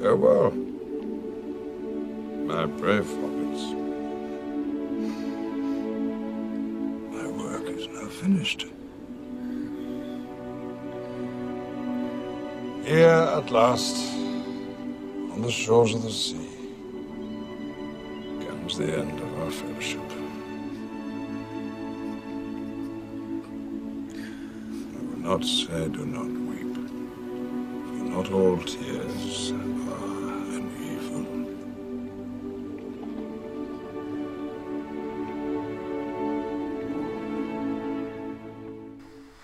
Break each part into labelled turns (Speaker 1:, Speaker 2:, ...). Speaker 1: farewell. My prayer forgets. My work is now finished. Here at last, on the shores of the sea, comes the end of our fellowship. I will not say do not weep, for not all tears are an evil.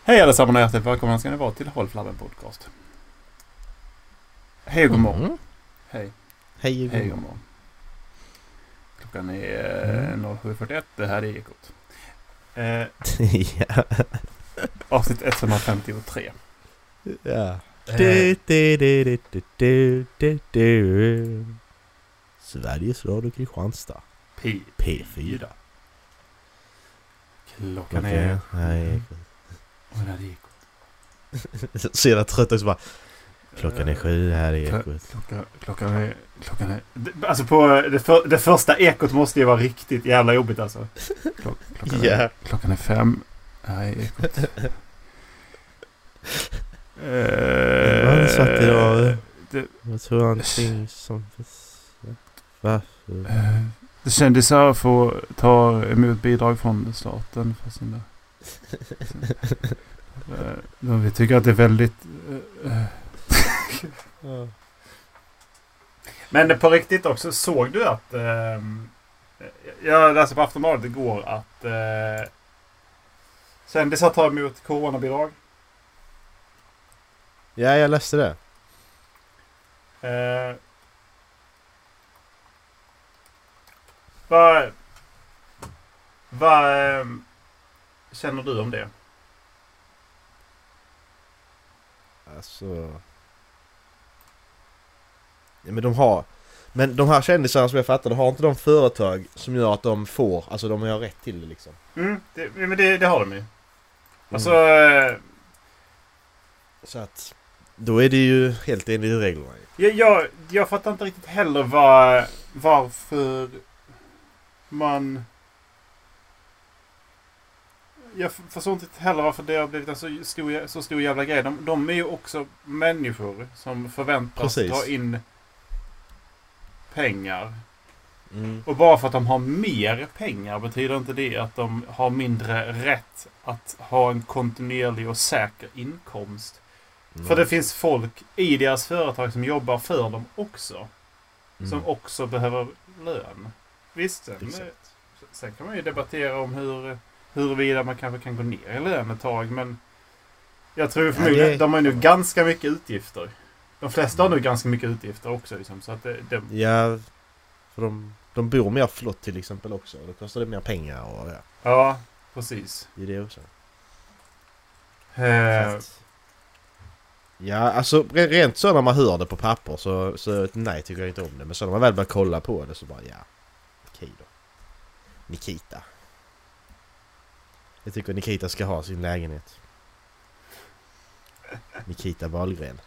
Speaker 2: Hej allesammans och hjärtligt välkomna ska ni vara till Håll Flabben Podcast. Hej och god morgon.
Speaker 3: Mm.
Speaker 2: Hej. Hej
Speaker 3: Hej,
Speaker 2: och
Speaker 3: Hugo.
Speaker 2: god morgon. Klockan är eh,
Speaker 3: Mm.
Speaker 2: 07.41. Det här är Ekot. Eh,
Speaker 3: ja.
Speaker 2: avsnitt 153.
Speaker 3: ja.
Speaker 2: Eh,
Speaker 3: Du, du, du, du, du, du, du, du. Sveriges Radio Kristianstad.
Speaker 2: P.
Speaker 3: P4.
Speaker 2: Klockan är...
Speaker 3: Nej.
Speaker 2: Och det här är Ekot.
Speaker 3: jag- Så jävla trött också bara. Klockan är
Speaker 2: Eh,
Speaker 3: sju här i
Speaker 2: kl-
Speaker 3: Ekot.
Speaker 2: Mm. Klockan, klockan är... Klockan är... Det- Alltså på det, för, det första Ekot måste ju vara riktigt jävla jobbigt alltså. Klock, klockan, är, klockan är fem. Här är Eh, Ekot.
Speaker 3: Vad hade du sagt idag?
Speaker 2: Eh, det-
Speaker 3: Jag tror någonting som... Varför?
Speaker 2: Eh, Det kändisar får ta emot bidrag från staten för sina... Eh, men vi tycker att det är väldigt... eh, eh. Men på riktigt också, såg du att... ehm, jag läste på Aftonbladet igår att eh, kändisar tar emot coronabidrag.
Speaker 3: Ja, jag läste det.
Speaker 2: Eh, vad... Vad ehm, känner du om det?
Speaker 3: Alltså... Ja, men de har... Men de här kändisarna som jag fattade, har inte de företag som gör att de får, alltså de har rätt till det liksom?
Speaker 2: Mm, det, ja, men det, det har de ju. Alltså, eh,
Speaker 3: Så att... Då är det ju helt enligt reglerna ju.
Speaker 2: jag, jag, jag fattar inte riktigt heller var, varför man... Jag f- förstår inte heller varför det har blivit en så stor, jä- så stor jävla grej. De, de är ju också människor som förväntas
Speaker 3: Precis.
Speaker 2: dra in pengar.
Speaker 3: Mm.
Speaker 2: Och bara för att de har mer pengar betyder inte det att de har mindre rätt att ha en kontinuerlig och säker inkomst.
Speaker 3: Mm.
Speaker 2: För det finns folk i deras företag som jobbar för dem också.
Speaker 3: Mm.
Speaker 2: Som också behöver lön. Visst, sen,
Speaker 3: Exakt.
Speaker 2: sen kan man ju debattera om hur, huruvida man kanske kan gå ner i lön ett tag. Men jag tror förmodligen
Speaker 3: det- Mm.
Speaker 2: de har nu ganska mycket utgifter. De flesta har nu ganska mycket utgifter också. Liksom, så att det, det,
Speaker 3: Ja... För de, de bor mer flott till exempel också, och då kostar det mer pengar och ja.
Speaker 2: ja, precis.
Speaker 3: Det är det också.
Speaker 2: Eh,
Speaker 3: Ja, alltså re- rent så när man hör det på papper så, så nej tycker jag inte om det. Men så när man väl börjar kolla på det så bara ja, okej då. Nikita. Jag tycker Nikita ska ha sin lägenhet. Nikita Wahlgren.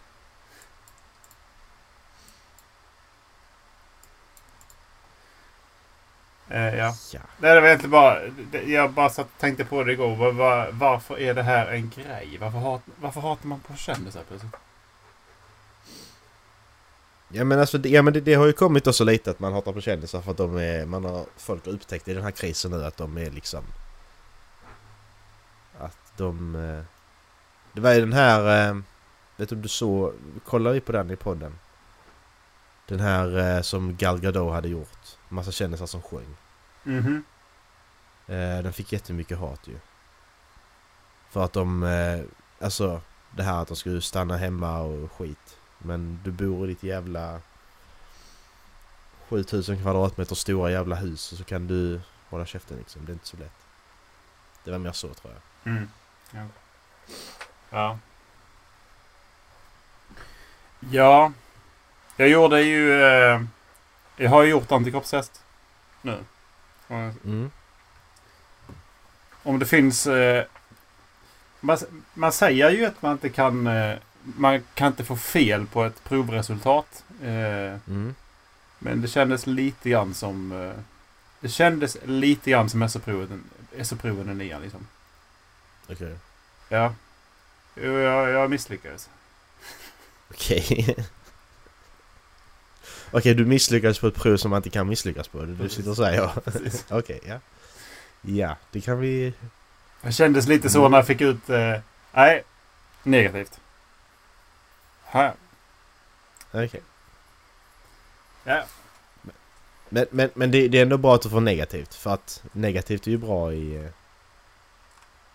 Speaker 2: eh, ja.
Speaker 3: Ja.
Speaker 2: Nej, det var egentligen bara... det- Jag bara satt och tänkte på det igår. Var, var, varför är det här en grej? Varför, hat, varför hatar man på kändisar plötsligt?
Speaker 3: Ja men alltså det, ja, men det, det har ju kommit också lite att man hatar på kändisar för att de är, man har, folk har upptäckt i den här krisen nu att de är liksom... Att de... eh, Det var ju den här... eh, Vet du om du såg, kollar vi på den i podden? Den här eh, som Gal Gadot hade gjort. Massa kändisar som sjöng.
Speaker 2: Mhm.
Speaker 3: Eh, Den fick jättemycket hat ju. För att de... eh, Alltså det här att de skulle stanna hemma och skit. Men du bor i ditt jävla... 7000 kvadratmeter stora jävla hus och så kan du hålla käften liksom. Det är inte så lätt. Det var mer så tror jag.
Speaker 2: Mm. Ja. ja. Ja. Jag gjorde ju... Eh, jag har ju gjort antikroppstest. Nu. Och
Speaker 3: Mm.
Speaker 2: Om det finns... Eh, man, man säger ju att man inte kan... Eh, man kan inte få fel på ett provresultat. Eh,
Speaker 3: Mm.
Speaker 2: Men det kändes lite grann som... eh, Det kändes lite grann som SO-proven SO i nian liksom.
Speaker 3: Okej.
Speaker 2: Ja. Jo, Jag, jag misslyckades.
Speaker 3: Okej. Okej, du misslyckades på ett prov som man inte kan misslyckas på. Du- Du sitter och säger.
Speaker 2: Precis.
Speaker 3: Okej, ja. Ja, det kan vi...
Speaker 2: Det kändes lite så när jag fick ut... Eh, nej, negativt. Ha.
Speaker 3: Okej.
Speaker 2: Ja.
Speaker 3: Men, men, men det, det är ändå bra att du får negativt. För att negativt är ju bra i... eh,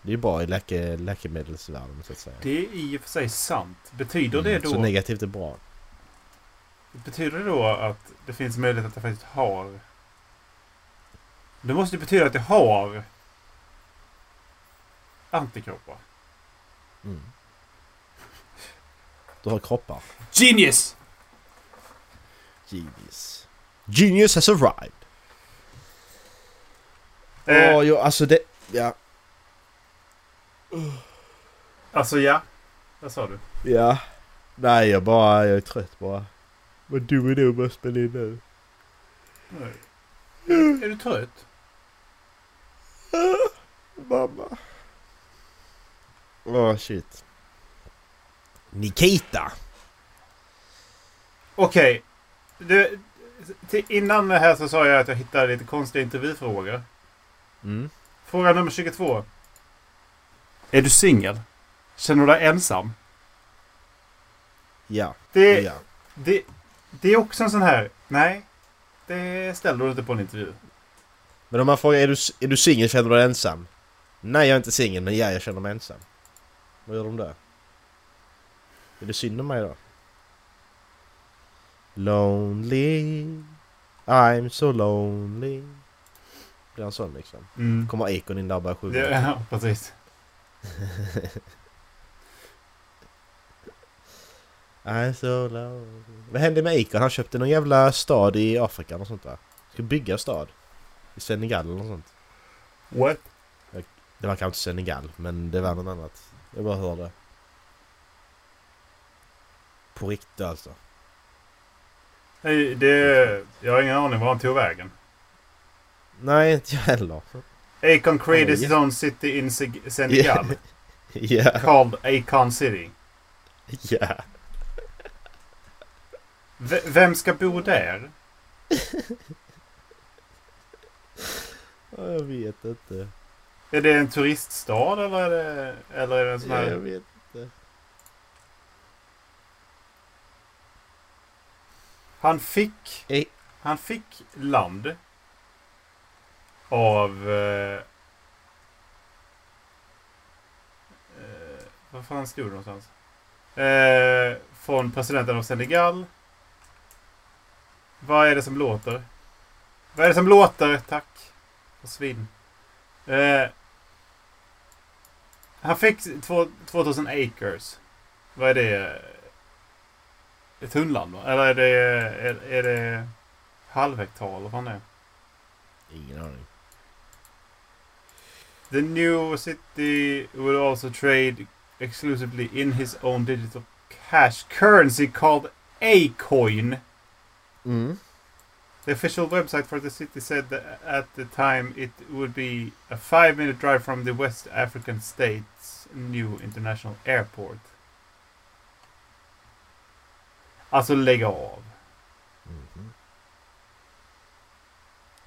Speaker 3: Det är ju bra i läke, läkemedelsvärlden så att säga.
Speaker 2: Det är i och för sig sant. Betyder det
Speaker 3: Mm, Så
Speaker 2: då,
Speaker 3: negativt är bra.
Speaker 2: betyder det då att det finns möjlighet att jag faktiskt har... Det måste ju betyda att jag har antikroppar.
Speaker 3: Mm. Du har kroppar.
Speaker 2: Genius!
Speaker 3: Genius. Genius has arrived! Åh,
Speaker 2: Eh,
Speaker 3: jo, alltså det... Ja.
Speaker 2: Alltså ja. Vad sa du?
Speaker 3: Ja. Nej, jag bara... Jag är trött bara. Vad dum är du med att spela in nu?
Speaker 2: Nej. Är du trött?
Speaker 3: Mamma. Åh, shit. Nikita!
Speaker 2: Okej. Du, till- Innan det här så sa jag att jag hittade lite konstiga intervjufrågor.
Speaker 3: Mm.
Speaker 2: Fråga nummer 22. Är du singel? Känner du dig ensam?
Speaker 3: Ja.
Speaker 2: Det,
Speaker 3: Ja.
Speaker 2: det, det är också en sån här... Nej. Det ställer du inte på en intervju.
Speaker 3: Men om man frågar är du, är du singel känner du dig ensam? Nej jag är inte singel men ja jag känner mig ensam. Vad gör de då? Är det synd om mig då? Lonely I'm so lonely Blir han sån liksom?
Speaker 2: Mm.
Speaker 3: Kommer ekon in där och börjar sjunga?
Speaker 2: Det, ja, precis.
Speaker 3: I'm so lonely Vad hände med ekon? Han köpte någon jävla stad i Afrika och sånt va? Ska bygga en stad? I Senegal eller något sånt?
Speaker 2: What?
Speaker 3: Det var kanske inte Senegal men det var något annat. Jag bara hörde. På riktigt alltså.
Speaker 2: Nej, det, jag har ingen aning var han tog vägen.
Speaker 3: Nej, inte jag heller.
Speaker 2: Akon created
Speaker 3: Oj.
Speaker 2: his own city in Sig- Senegal.
Speaker 3: Ja,
Speaker 2: Called Akon City.
Speaker 3: ja.
Speaker 2: V- vem ska bo där?
Speaker 3: Ja, Jag vet inte.
Speaker 2: Är det en turiststad eller är det, eller är det en sån
Speaker 3: Ja, Jag
Speaker 2: här...
Speaker 3: vet inte.
Speaker 2: Han fick,
Speaker 3: Ej.
Speaker 2: han fick land av... Eh, eh, eh, vad fan stod det någonstans? Eh, från presidenten av Senegal. Vad är det som låter? Vad är det som låter? Tack. Försvinn. Eh, han fick två, 2000 acres. Vad är det? Ett hundland va? Eller är det, är, är det halvhektar eller vad fan det är?
Speaker 3: Ingen aning.
Speaker 2: The new city will also trade exclusively in his own digital cash currency called A-coin.
Speaker 3: Mm.
Speaker 2: The official website for the city said that at the time it would be a five minute drive from the West African state's new international airport. Alltså lägg av.
Speaker 3: Mhm.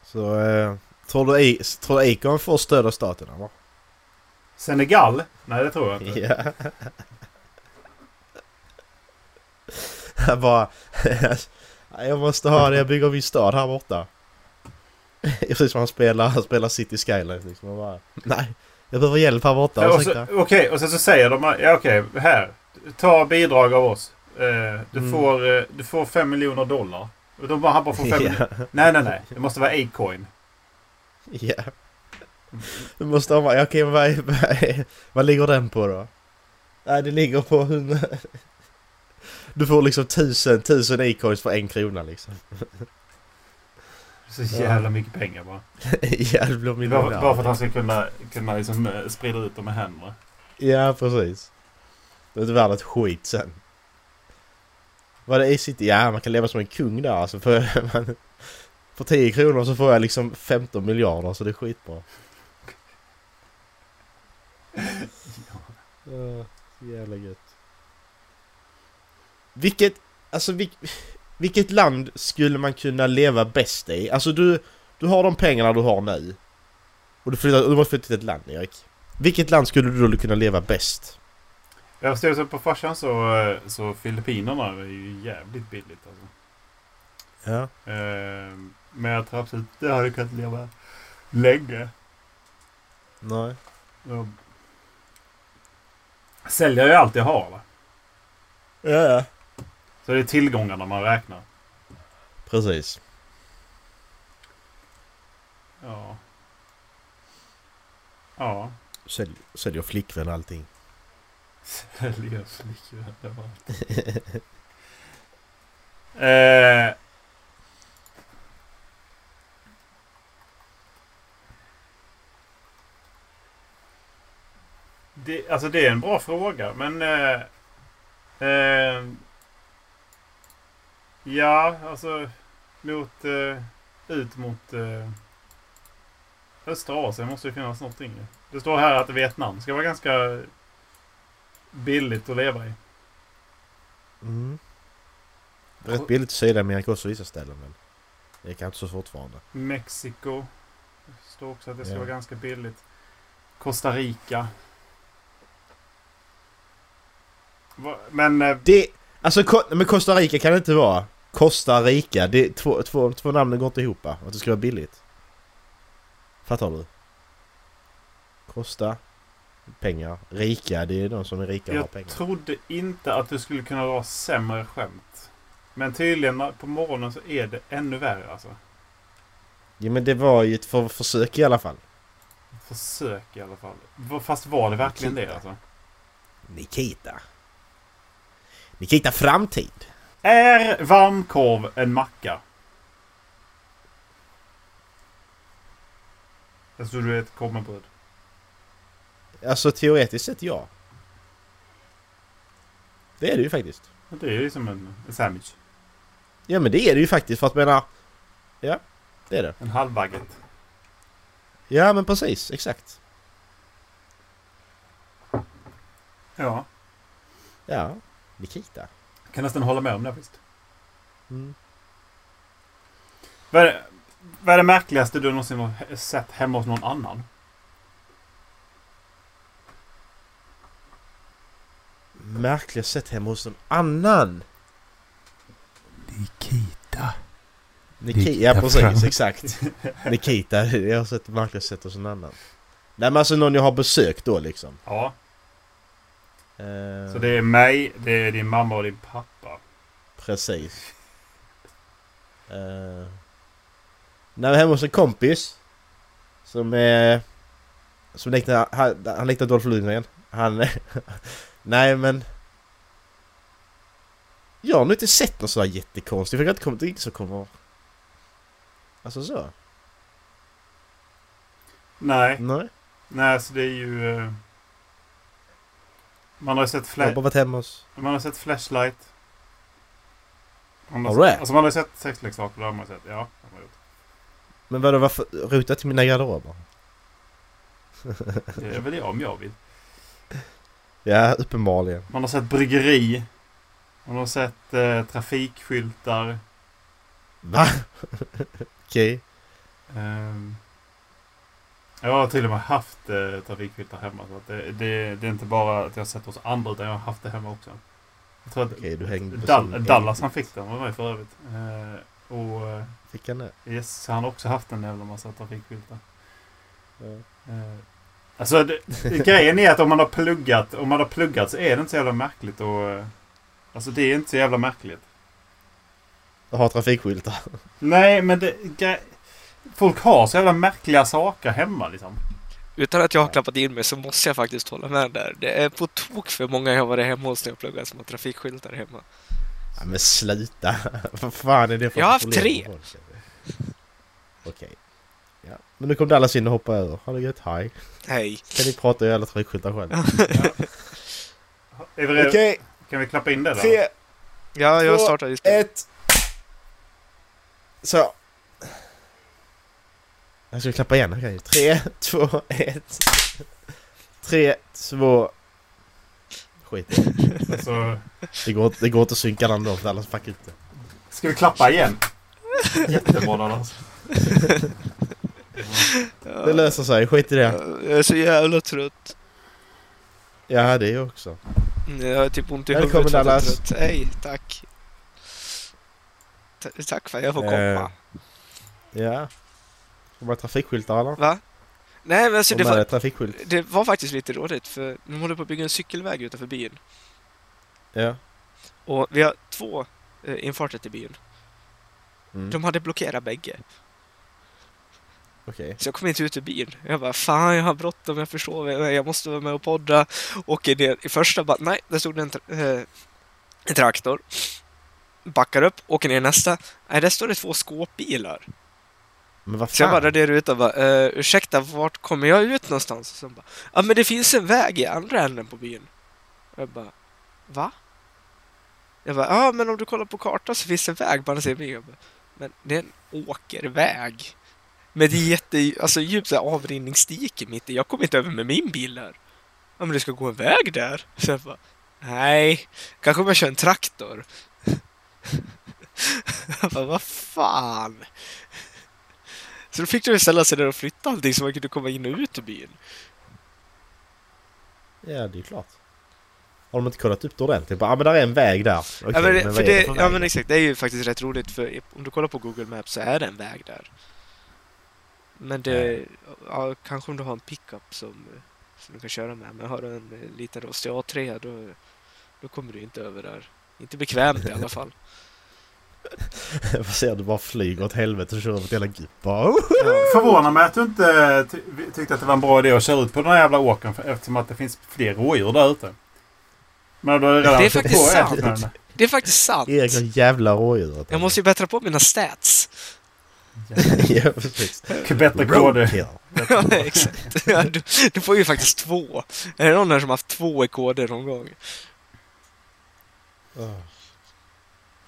Speaker 3: Så, eh, tror du Ej- tror du Akon får stöd av staten eller?
Speaker 2: Senegal? Nej, det tror jag inte.
Speaker 3: Ja. Han bara... jag måste ha det, jag bygger en viss stad här borta. Precis som han spelar, han spelar City Skylines liksom. Han bara, nej, jag behöver hjälp här borta,
Speaker 2: Ja, och så-
Speaker 3: ursäkta.
Speaker 2: Okej, och sen så säger de här- ja, okej, här. Ta bidrag av oss. Eh, du,
Speaker 3: Mm.
Speaker 2: får, eh, du får 5 miljoner dollar. Och de bara, han bara får 5 miljoner.
Speaker 3: Ja,
Speaker 2: Nej, nej, nej. Det måste vara A-coin.
Speaker 3: ja. Du måste ha, ja, okej men vad, är- vad, är- vad ligger den på då? Nej det ligger på 100. Du får liksom tusen, tusen e-coins för en krona liksom.
Speaker 2: Så
Speaker 3: Ja.
Speaker 2: jävla mycket pengar bara.
Speaker 3: ja, det
Speaker 2: Det
Speaker 3: blir
Speaker 2: är
Speaker 3: miljonär.
Speaker 2: Bara, bara för att han ska kunna, kunna liksom eh, sprida ut dem med händerna.
Speaker 3: Ja, precis. Det är inte värt ett skit sen. Vad det är sitt... Ja, man kan leva som en kung där alltså. För, man, för 10 kronor så får jag liksom 15 miljarder så det är skitbra. Ja, så jävla gött. Vilket, alltså vil, vilket land skulle man kunna leva bäst i? Alltså du, du har de pengarna du har nu. Och du, flyttar, du måste flytta till ett land Erik. Vilket land skulle du då kunna leva bäst?
Speaker 2: Jag förstår som på farsan så, eh, så Filippinerna är ju jävligt billigt alltså.
Speaker 3: Ja.
Speaker 2: Eh, Men jag tror absolut det hade kunnat leva länge.
Speaker 3: Nej.
Speaker 2: Jag säljer ju allt jag har va?
Speaker 3: Ja, ja.
Speaker 2: Så det är tillgångarna man räknar.
Speaker 3: Precis.
Speaker 2: Ja. Ja.
Speaker 3: Sälj, säljer flickvän och allting.
Speaker 2: Säljer flickvän överallt. eh. Det, alltså det är en bra fråga men... Eh, eh, ja, alltså mot... Eh, ut mot... Eh, östra Asien måste det finnas någonting. Det står här att Vietnam ska vara ganska billigt att leva i.
Speaker 3: Mm. Det är Rätt billigt i Sydamerika också vissa ställen men. Det kan inte så fortfarande.
Speaker 2: Mexiko. Det står också att det ska
Speaker 3: Ja.
Speaker 2: vara ganska billigt. Costa Rica. Va- Men eh,
Speaker 3: Det, alltså Ko- men Costa Rica kan det inte vara. Costa Rica, det är två, två, två namnen går inte ihop va? Att det ska vara billigt. Fattar du? Costa, pengar, rika, det är de som är rika och har
Speaker 2: jag
Speaker 3: pengar.
Speaker 2: trodde inte att det skulle kunna vara sämre skämt. Men tydligen när- på morgonen så är det ännu värre alltså.
Speaker 3: Ja men det var ju ett för, försök i alla fall.
Speaker 2: Försök i alla fall. Va- Fast var det verkligen det
Speaker 3: Titta.
Speaker 2: alltså?
Speaker 3: Nikita. Nikita Framtid.
Speaker 2: Är varmkorv en macka? Alltså du vet, korv med bröd.
Speaker 3: Alltså teoretiskt sett ja. Det är det ju faktiskt.
Speaker 2: Det är ju som en en sandwich.
Speaker 3: Ja men det är det ju faktiskt för att menar... Ja, det är det.
Speaker 2: En halvbaguette.
Speaker 3: Ja men precis, exakt.
Speaker 2: Ja.
Speaker 3: Ja, Nikita.
Speaker 2: Kan nästan hålla med om det visst.
Speaker 3: Mm.
Speaker 2: Vad är det, vad är det märkligaste du någonsin har he- sett hemma hos någon annan?
Speaker 3: Märkliga sätt hemma hos någon annan.
Speaker 2: Nikita.
Speaker 3: Nikita,
Speaker 2: Nikita
Speaker 3: ja precis,
Speaker 2: Fram.
Speaker 3: exakt. Nikita, jag har sett märkliga sätt hos någon annan. Nej men alltså någon jag har besökt då liksom.
Speaker 2: Ja,
Speaker 3: Eh,
Speaker 2: så det är mig, det är din mamma och din pappa.
Speaker 3: Precis. Eh, när jag var hemma hos en kompis. Som eh, Som liknar, han, han liknar Dolph Lundgren. Han... nej men... Jag har nog inte sett något sådär jättekonstigt. För jag har inte kommit dit så kommer... Alltså så.
Speaker 2: Nej,
Speaker 3: Nej.
Speaker 2: nej så det är ju... eh, Man har ju sett,
Speaker 3: Jag har
Speaker 2: fla-
Speaker 3: bara varit hemma hos...
Speaker 2: man har sett Flashlight. Man
Speaker 3: All right.
Speaker 2: Alltså man har ju sett sexleksaker, det har man ju sett. Ja, det har man gjort.
Speaker 3: Men vadå varför? Rutat till mina garderober?
Speaker 2: Det är väl jag om jag vill.
Speaker 3: Ja, uppenbarligen.
Speaker 2: Man har sett bryggeri. Man har sett eh, trafikskyltar.
Speaker 3: Va? Okej.
Speaker 2: Ehm, jag har till och med haft eh, trafikskyltar hemma. Så att det, det, det är inte bara att jag har sett hos andra utan jag har haft det hemma också. Jag tror att
Speaker 3: Okej, du hängde på
Speaker 2: Dal-
Speaker 3: sin-
Speaker 2: Dallas han fick den var med för övrigt. Eh, och eh,
Speaker 3: Fick han det?
Speaker 2: yes, han har också haft en jävla massa trafikskyltar.
Speaker 3: Ja.
Speaker 2: Eh, alltså det, grejen är att om man har pluggat om man har pluggat så är det inte så jävla märkligt och eh, Alltså det är inte så jävla märkligt.
Speaker 3: Jag har trafikskyltar.
Speaker 2: Nej, men det, gre- folk har så jävla märkliga saker hemma liksom.
Speaker 4: Utan att jag har klappat in mig så måste jag faktiskt hålla med där. Det är på tok för många jag har varit hemma hos när jag pluggade som har trafikskyltar hemma.
Speaker 3: Ja, men sluta! Vad fan är det för
Speaker 4: Jag har haft
Speaker 3: problem
Speaker 4: tre.
Speaker 3: med folk? Okej. Ja. Men nu kom Dallas in och hoppade över. Ha det gött, hej.
Speaker 4: Hej.
Speaker 3: Kan ni prata i alla trafikskyltar själv?
Speaker 2: Är vi redo? Kan vi klappa in det då?
Speaker 4: Ja, jag
Speaker 3: Två,
Speaker 4: startar inspelningen.
Speaker 3: Ett. Så. Jag ska klappa igen. Okej. Tre, två, ett. Tre, två. Skit i det.
Speaker 2: Alltså,
Speaker 3: det. Går, det går inte att synka den då för alla fuckar ut det.
Speaker 2: ska vi klappa igen? Jättebra Dallas.
Speaker 4: Ja.
Speaker 3: Det löser sig. Skit i det.
Speaker 4: Ja, Jag är så jävla trött.
Speaker 3: Ja, det är jag också.
Speaker 4: Jag har typ ont i
Speaker 3: Välkommen,
Speaker 4: huvudet. för att jag är
Speaker 3: Dallas.
Speaker 4: trött. Hej, tack. Ta- Tack för att jag får
Speaker 3: Eh.
Speaker 4: komma.
Speaker 3: Ja. Får man trafikskyltar eller?
Speaker 4: Va? Nej, men alltså det
Speaker 3: Om man är
Speaker 4: var,
Speaker 3: trafikskylt.
Speaker 4: det var faktiskt lite rådigt för de håller på att bygga en cykelväg utanför byn.
Speaker 3: Ja.
Speaker 4: Och vi har två eh, infarter till byn.
Speaker 3: Mm.
Speaker 4: De hade blockerat bägge.
Speaker 3: Okej.
Speaker 4: Så jag kom inte ut ur bilen. Jag bara, fan jag har bråttom, jag förstår mig, jag måste vara med och podda. Åker ner i första, bara, nej, där stod det en, tra- eh, en traktor. Backar upp, åker ner i nästa. Nej, där står det två skåpbilar.
Speaker 3: Men vad
Speaker 4: Så jag bara
Speaker 3: fan?
Speaker 4: raderar ut och bara, eh, ursäkta, vart kommer jag ut någonstans? Och sen bara, ja men det finns en väg i andra änden på byn. Och jag bara, va? Jag bara, ja men om du kollar på kartan så finns det en väg på andra sidan byn. Jag bara, Men det är en åkerväg. Med det är jätte, alltså djup så här avrinningsdike mitt i. Jag kommer inte över med min bil där. Ja men det ska gå en väg där. Så jag bara, nej, kanske om jag kör en traktor. jag bara, vad fan. Så då fick de ju ställa sig där och flytta allting så man kunde komma in och ut ur byn.
Speaker 3: Ja, det är klart. Har de inte kollat upp det ordentligt? Bara, ah, men där är en väg där. Okej,
Speaker 4: ja, men, det-
Speaker 3: vad
Speaker 4: för
Speaker 3: är
Speaker 4: det,
Speaker 3: för
Speaker 4: ja
Speaker 3: väg?
Speaker 4: men exakt, det är ju faktiskt rätt roligt för om du kollar på Google Maps så är det en väg där. Men det, ja, kanske om du har en pickup som, som du kan köra med. Men har du en eh, liten rostig A3 då, då kommer du inte över där. Inte bekvämt i alla fall.
Speaker 3: Vad ser du bara flyger åt helvete och kör över ett jävla gupp bara. "Oh,
Speaker 2: Förvånar mig att du inte ty- tyckte att det var en bra idé att köra ut på den här jävla åkern för- eftersom att det finns fler rådjur där ute. Men du har ju redan
Speaker 4: Det är
Speaker 2: kört
Speaker 4: faktiskt
Speaker 2: på
Speaker 4: sant.
Speaker 2: älgarna.
Speaker 4: Det är faktiskt sant.
Speaker 3: Erik och jävla rådjuret.
Speaker 4: Jag måste ju bättra på mina stats.
Speaker 3: ja, precis.
Speaker 2: Bättre KD.
Speaker 3: Roadkill.
Speaker 4: Ja, exakt. Ja, du, du får ju faktiskt två. Är det någon här som haft två i KD någon gång?
Speaker 3: Åh.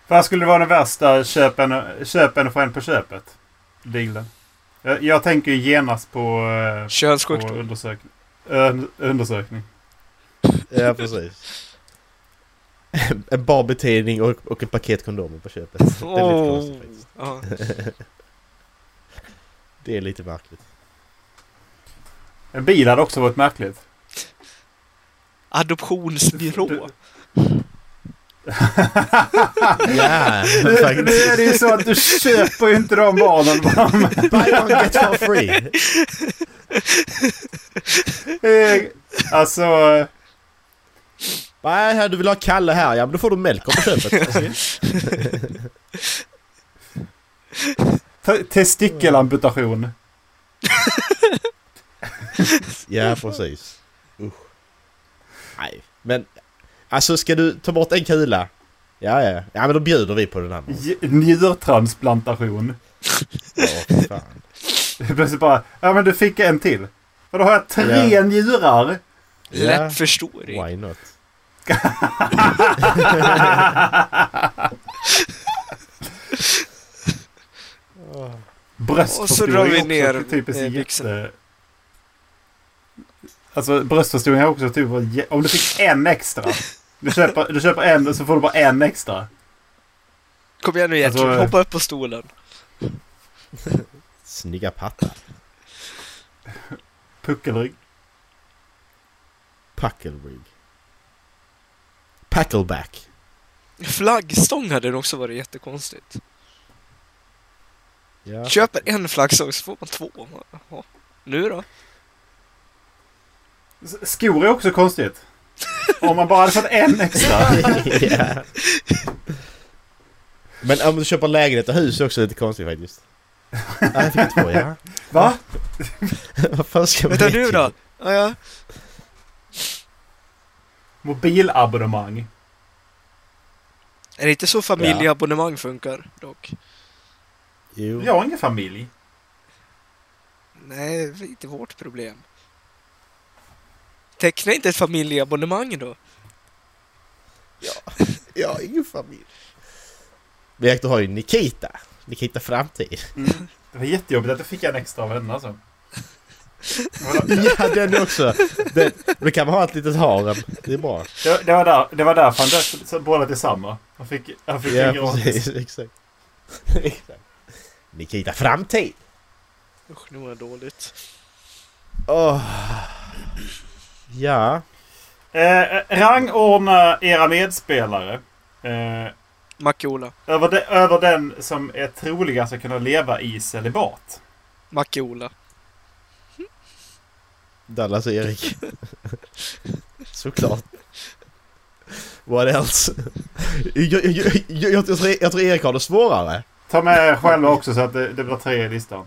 Speaker 2: Vad skulle det vara den värsta köpen, köpen och få en på köpet? Dealen. Jag, jag tänker ju genast på, eh, på
Speaker 4: Könssjukdom.
Speaker 2: undersökning. Ö- undersökning.
Speaker 3: Ja, precis. en barbetidning och, och ett paket kondomer på köpet. Det är lite konstigt faktiskt.
Speaker 4: ja.
Speaker 3: Det är lite märkligt.
Speaker 2: En bil hade också varit märkligt.
Speaker 4: Adoptionsbyrå.
Speaker 3: Ja,
Speaker 2: Nu, nu
Speaker 3: faktiskt.
Speaker 2: är det ju så att du köper ju inte de barnen. Bram.
Speaker 3: Buy one get one free.
Speaker 2: Eh, alltså, eh,
Speaker 3: Nej, här, du vill ha Kalle här. Ja, men då får du Melker på köpet.
Speaker 2: te- testikelamputation.
Speaker 3: Ja, precis. Usch. Mm. Nej, men... Alltså, ska du ta bort en kula? Ja, ja. Ja, men då bjuder vi på den andra.
Speaker 2: J- njurtransplantation.
Speaker 3: Ja, för fan.
Speaker 2: Plötsligt bara, ja men du fick en till. För då har jag tre
Speaker 3: Ja.
Speaker 2: njurar.
Speaker 3: Ja,
Speaker 4: Läppförstoring.
Speaker 3: why not?
Speaker 4: Och så drar
Speaker 2: Bröstförstoring
Speaker 4: vi
Speaker 2: är också typ
Speaker 4: ner,
Speaker 2: typiskt
Speaker 4: eh, byxorna.
Speaker 2: jätte... Alltså bröstförstoring är också typ... vad jä- Om du fick en extra. Du köper, du köper en och så får du bara en extra.
Speaker 4: Kom igen nu Gertrud,
Speaker 2: Alltså, eh.
Speaker 4: hoppa upp på stolen.
Speaker 3: Snygga patta.
Speaker 2: Puckelrygg.
Speaker 3: Puckelrygg. Packleback.
Speaker 4: Flaggstång hade nog också varit jättekonstigt.
Speaker 3: Ja.
Speaker 4: Köper en flaggstång så får man två. Jaha. Nu då?
Speaker 2: S- Skor är också konstigt. Om man bara hade fått en extra.
Speaker 3: ja. Men om du köper lägenhet och hus är också lite konstigt faktiskt. Ja, jag fick två ja.
Speaker 2: Va?
Speaker 3: Vad fan ska man
Speaker 4: Vänta
Speaker 3: med
Speaker 4: nu
Speaker 3: till?
Speaker 4: då? Ja, ja.
Speaker 2: Mobilabonnemang.
Speaker 4: Är det inte så familjeabonnemang funkar dock?
Speaker 3: Jo.
Speaker 2: Jag har ingen familj.
Speaker 4: Nej, det är inte vårt problem. Teckna inte ett familjeabonnemang då.
Speaker 3: Jag har ingen familj. Men Hector har ju Nikita. Nikita Framtid.
Speaker 2: Det var jättejobbigt att du fick en extra av henne alltså.
Speaker 3: Ja, den också. Den, då kan man ha ett litet harem. Det är bra.
Speaker 2: Det var, det var, där, det var därför han döpte så- så båda till samma. Han fick, han fick en gratis.
Speaker 3: exakt. exakt. Nikita Framtid.
Speaker 4: Usch, nu mår jag dåligt.
Speaker 3: Åh. Ja.
Speaker 2: Eh, rangordna era medspelare. Eh,
Speaker 4: Macke-Ola.
Speaker 2: över, de, över den som är troligast att kunna leva i celibat.
Speaker 4: Macke-Ola.
Speaker 3: Dallas och Erik. Såklart. What else? Jag, jag, jag, jag, jag, tror, jag tror Erik har det svårare.
Speaker 2: Ta med er själva också så att det, det blir tre i listan.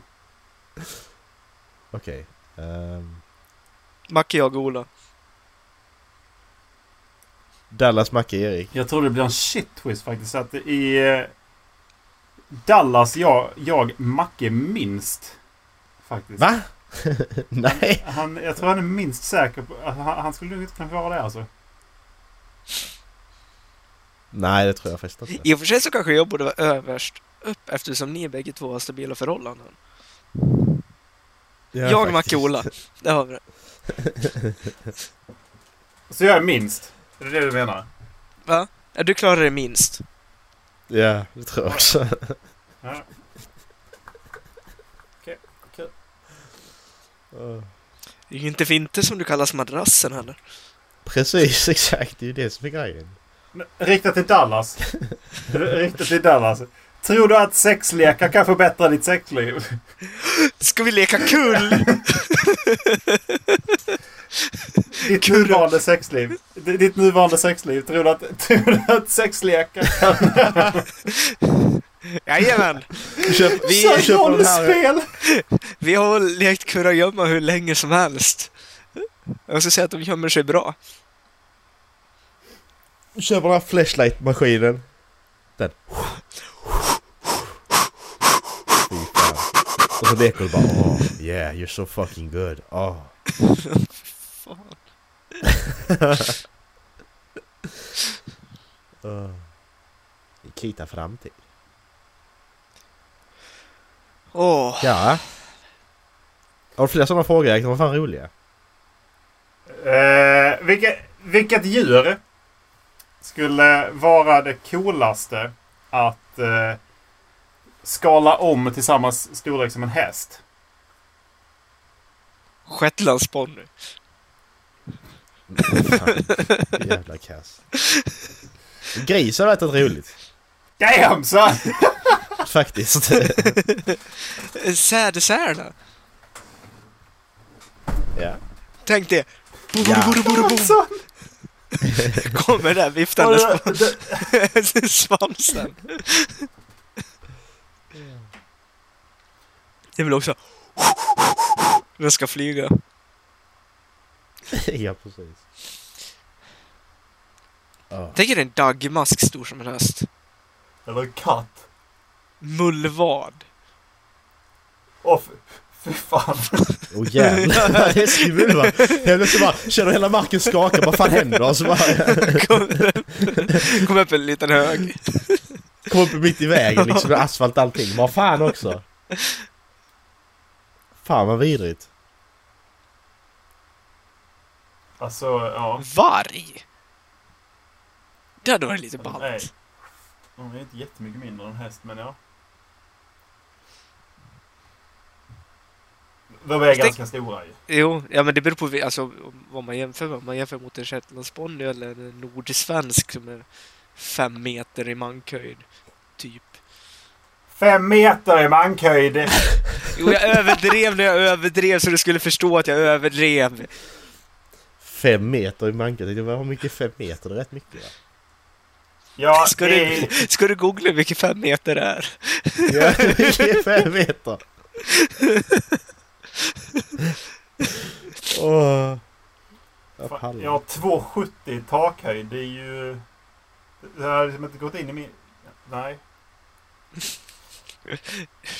Speaker 3: Okej. ehm,
Speaker 4: Macke, jag och Ola.
Speaker 3: Dallas, Macke, Erik.
Speaker 2: Jag tror det blir en shit twist faktiskt. Att i eh, Dallas, jag, jag Macke minst. Faktiskt.
Speaker 3: Va? Nej.
Speaker 2: Han, jag tror han är minst säker på... att Han, han skulle nog inte kunna vara det alltså.
Speaker 3: Nej, det tror jag faktiskt inte.
Speaker 4: I och för sig så kanske jag borde vara överst upp eftersom ni bägge två har stabila förhållanden.
Speaker 3: Ja,
Speaker 4: jag,
Speaker 3: faktiskt.
Speaker 4: Macke-Ola. Där har vi det.
Speaker 2: Så jag är minst. Är det det du menar?
Speaker 4: Ja, du klarar det minst.
Speaker 3: Ja, det tror jag också.
Speaker 2: Ja.
Speaker 3: Åh.
Speaker 4: Det är ju inte Vinter som du kallas madrassen heller.
Speaker 3: Precis, exakt. Det är ju det som är grejen.
Speaker 2: Men Riktat till Dallas. Riktat till Dallas. Tror du att sexlekar kan förbättra ditt sexliv?
Speaker 4: Ska vi leka kull?
Speaker 2: Ditt nuvarande sexliv? D- Ditt nuvarande sexliv? Tror du att, tror du att sexlekar kan...
Speaker 4: Jajamän!
Speaker 3: Vi köper,
Speaker 4: Vi-
Speaker 3: vi köper den här...
Speaker 2: rollspel!
Speaker 4: Vi har lekt kurragömma hur länge som helst. Jag ska säga att de gömmer sig bra.
Speaker 3: Vi köper den här flashlight-maskinen. Den. Fy fan. Och så leker du bara oh, yeah, you're so fucking good. Oh.
Speaker 4: Fan.
Speaker 3: Uh. Nikita Framtid.
Speaker 4: Åh,
Speaker 3: Ja. Har du fler sådana frågor Erik? De var fan roliga.
Speaker 2: Eh, vilket, vilket djur skulle vara det coolaste att eh, skala om till samma storlek som en häst?
Speaker 4: shetlandsponny.
Speaker 3: Fan. Jävla kass. Gris har varit ett roligt.
Speaker 2: Damn son!
Speaker 3: Faktiskt.
Speaker 4: Eh, Sädesärla.
Speaker 3: ja.
Speaker 4: Tänk det. Bo,
Speaker 3: Ja.
Speaker 4: bo, bo, bo, bo, bo.
Speaker 2: Alltså,
Speaker 4: Kommer där
Speaker 2: har
Speaker 4: viftandes
Speaker 2: du- det-
Speaker 4: med svansen. Det är väl också... Den ska flyga.
Speaker 3: ja, precis. Ja.
Speaker 4: Tänk er en dagmask stor som en häst.
Speaker 2: Eller en katt.
Speaker 4: Mullvad.
Speaker 2: Åh, fy- fy fan.
Speaker 3: Åh jävlar, det är skruv va? Jag blev så bara, känner hela marken skaka, vad fan händer? Och så bara,
Speaker 4: Kommer kom upp en liten hög.
Speaker 3: kom upp mitt i vägen liksom, med asfalt och allting. Vad fan också! Fan vad vidrigt.
Speaker 2: Alltså, ja.
Speaker 4: Varg! Det hade varit lite
Speaker 2: Nej.
Speaker 4: ballt.
Speaker 2: De är inte jättemycket mindre än en häst, men ja. De är
Speaker 4: Stäng-
Speaker 2: ganska stora ju.
Speaker 4: Jo, ja men det beror på vi- alltså, om- vad man jämför med. Om man jämför mot en shetlandsponny eller en nordsvensk som är fem meter i mankhöjd. Typ.
Speaker 2: Fem meter i mankhöjd.
Speaker 4: Jo, jag överdrev när jag överdrev så du skulle förstå att jag överdrev.
Speaker 3: Fem meter i manken, jag tänkte, hur mycket är fem meter? Det är rätt mycket va?
Speaker 2: Ja,
Speaker 4: Ska
Speaker 2: det
Speaker 4: du,
Speaker 2: är...
Speaker 4: ska du googla hur mycket fem meter är?
Speaker 3: Ja, det är fem meter! Åh. Jag
Speaker 2: Fan,
Speaker 3: pallar.
Speaker 2: Jag har 2,70 i takhöjd. Det är ju... Det har liksom inte gått in i min... Nej.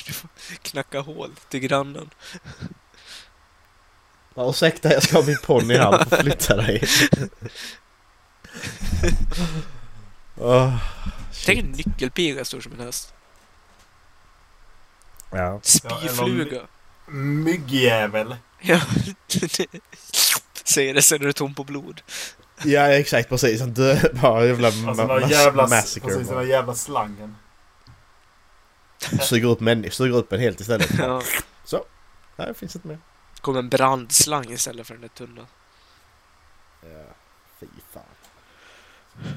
Speaker 4: Du får knacka hål till grannen.
Speaker 3: Ja, ursäkta, jag ska ha min ponny här. Du får flytta dig. Åh,
Speaker 4: Tänk
Speaker 3: shit.
Speaker 4: en nyckelpiga stor som en häst.
Speaker 3: Ja.
Speaker 4: Spyfluga.
Speaker 2: Myggjävel.
Speaker 4: Ja, säger det sen är du tom på blod.
Speaker 3: ja, exakt precis. Han dör bara. Jävla
Speaker 2: Alltså den
Speaker 3: ma-
Speaker 2: där
Speaker 3: mass-
Speaker 2: jävla,
Speaker 3: massacre.
Speaker 2: precis, den där
Speaker 3: bara.
Speaker 2: jävla slangen.
Speaker 3: Suger upp, människor, suger upp en helt istället.
Speaker 4: Ja.
Speaker 3: Nej, det finns inte mer.
Speaker 4: Kom en brandslang istället för den där tunnan.
Speaker 3: Ja, fy fan.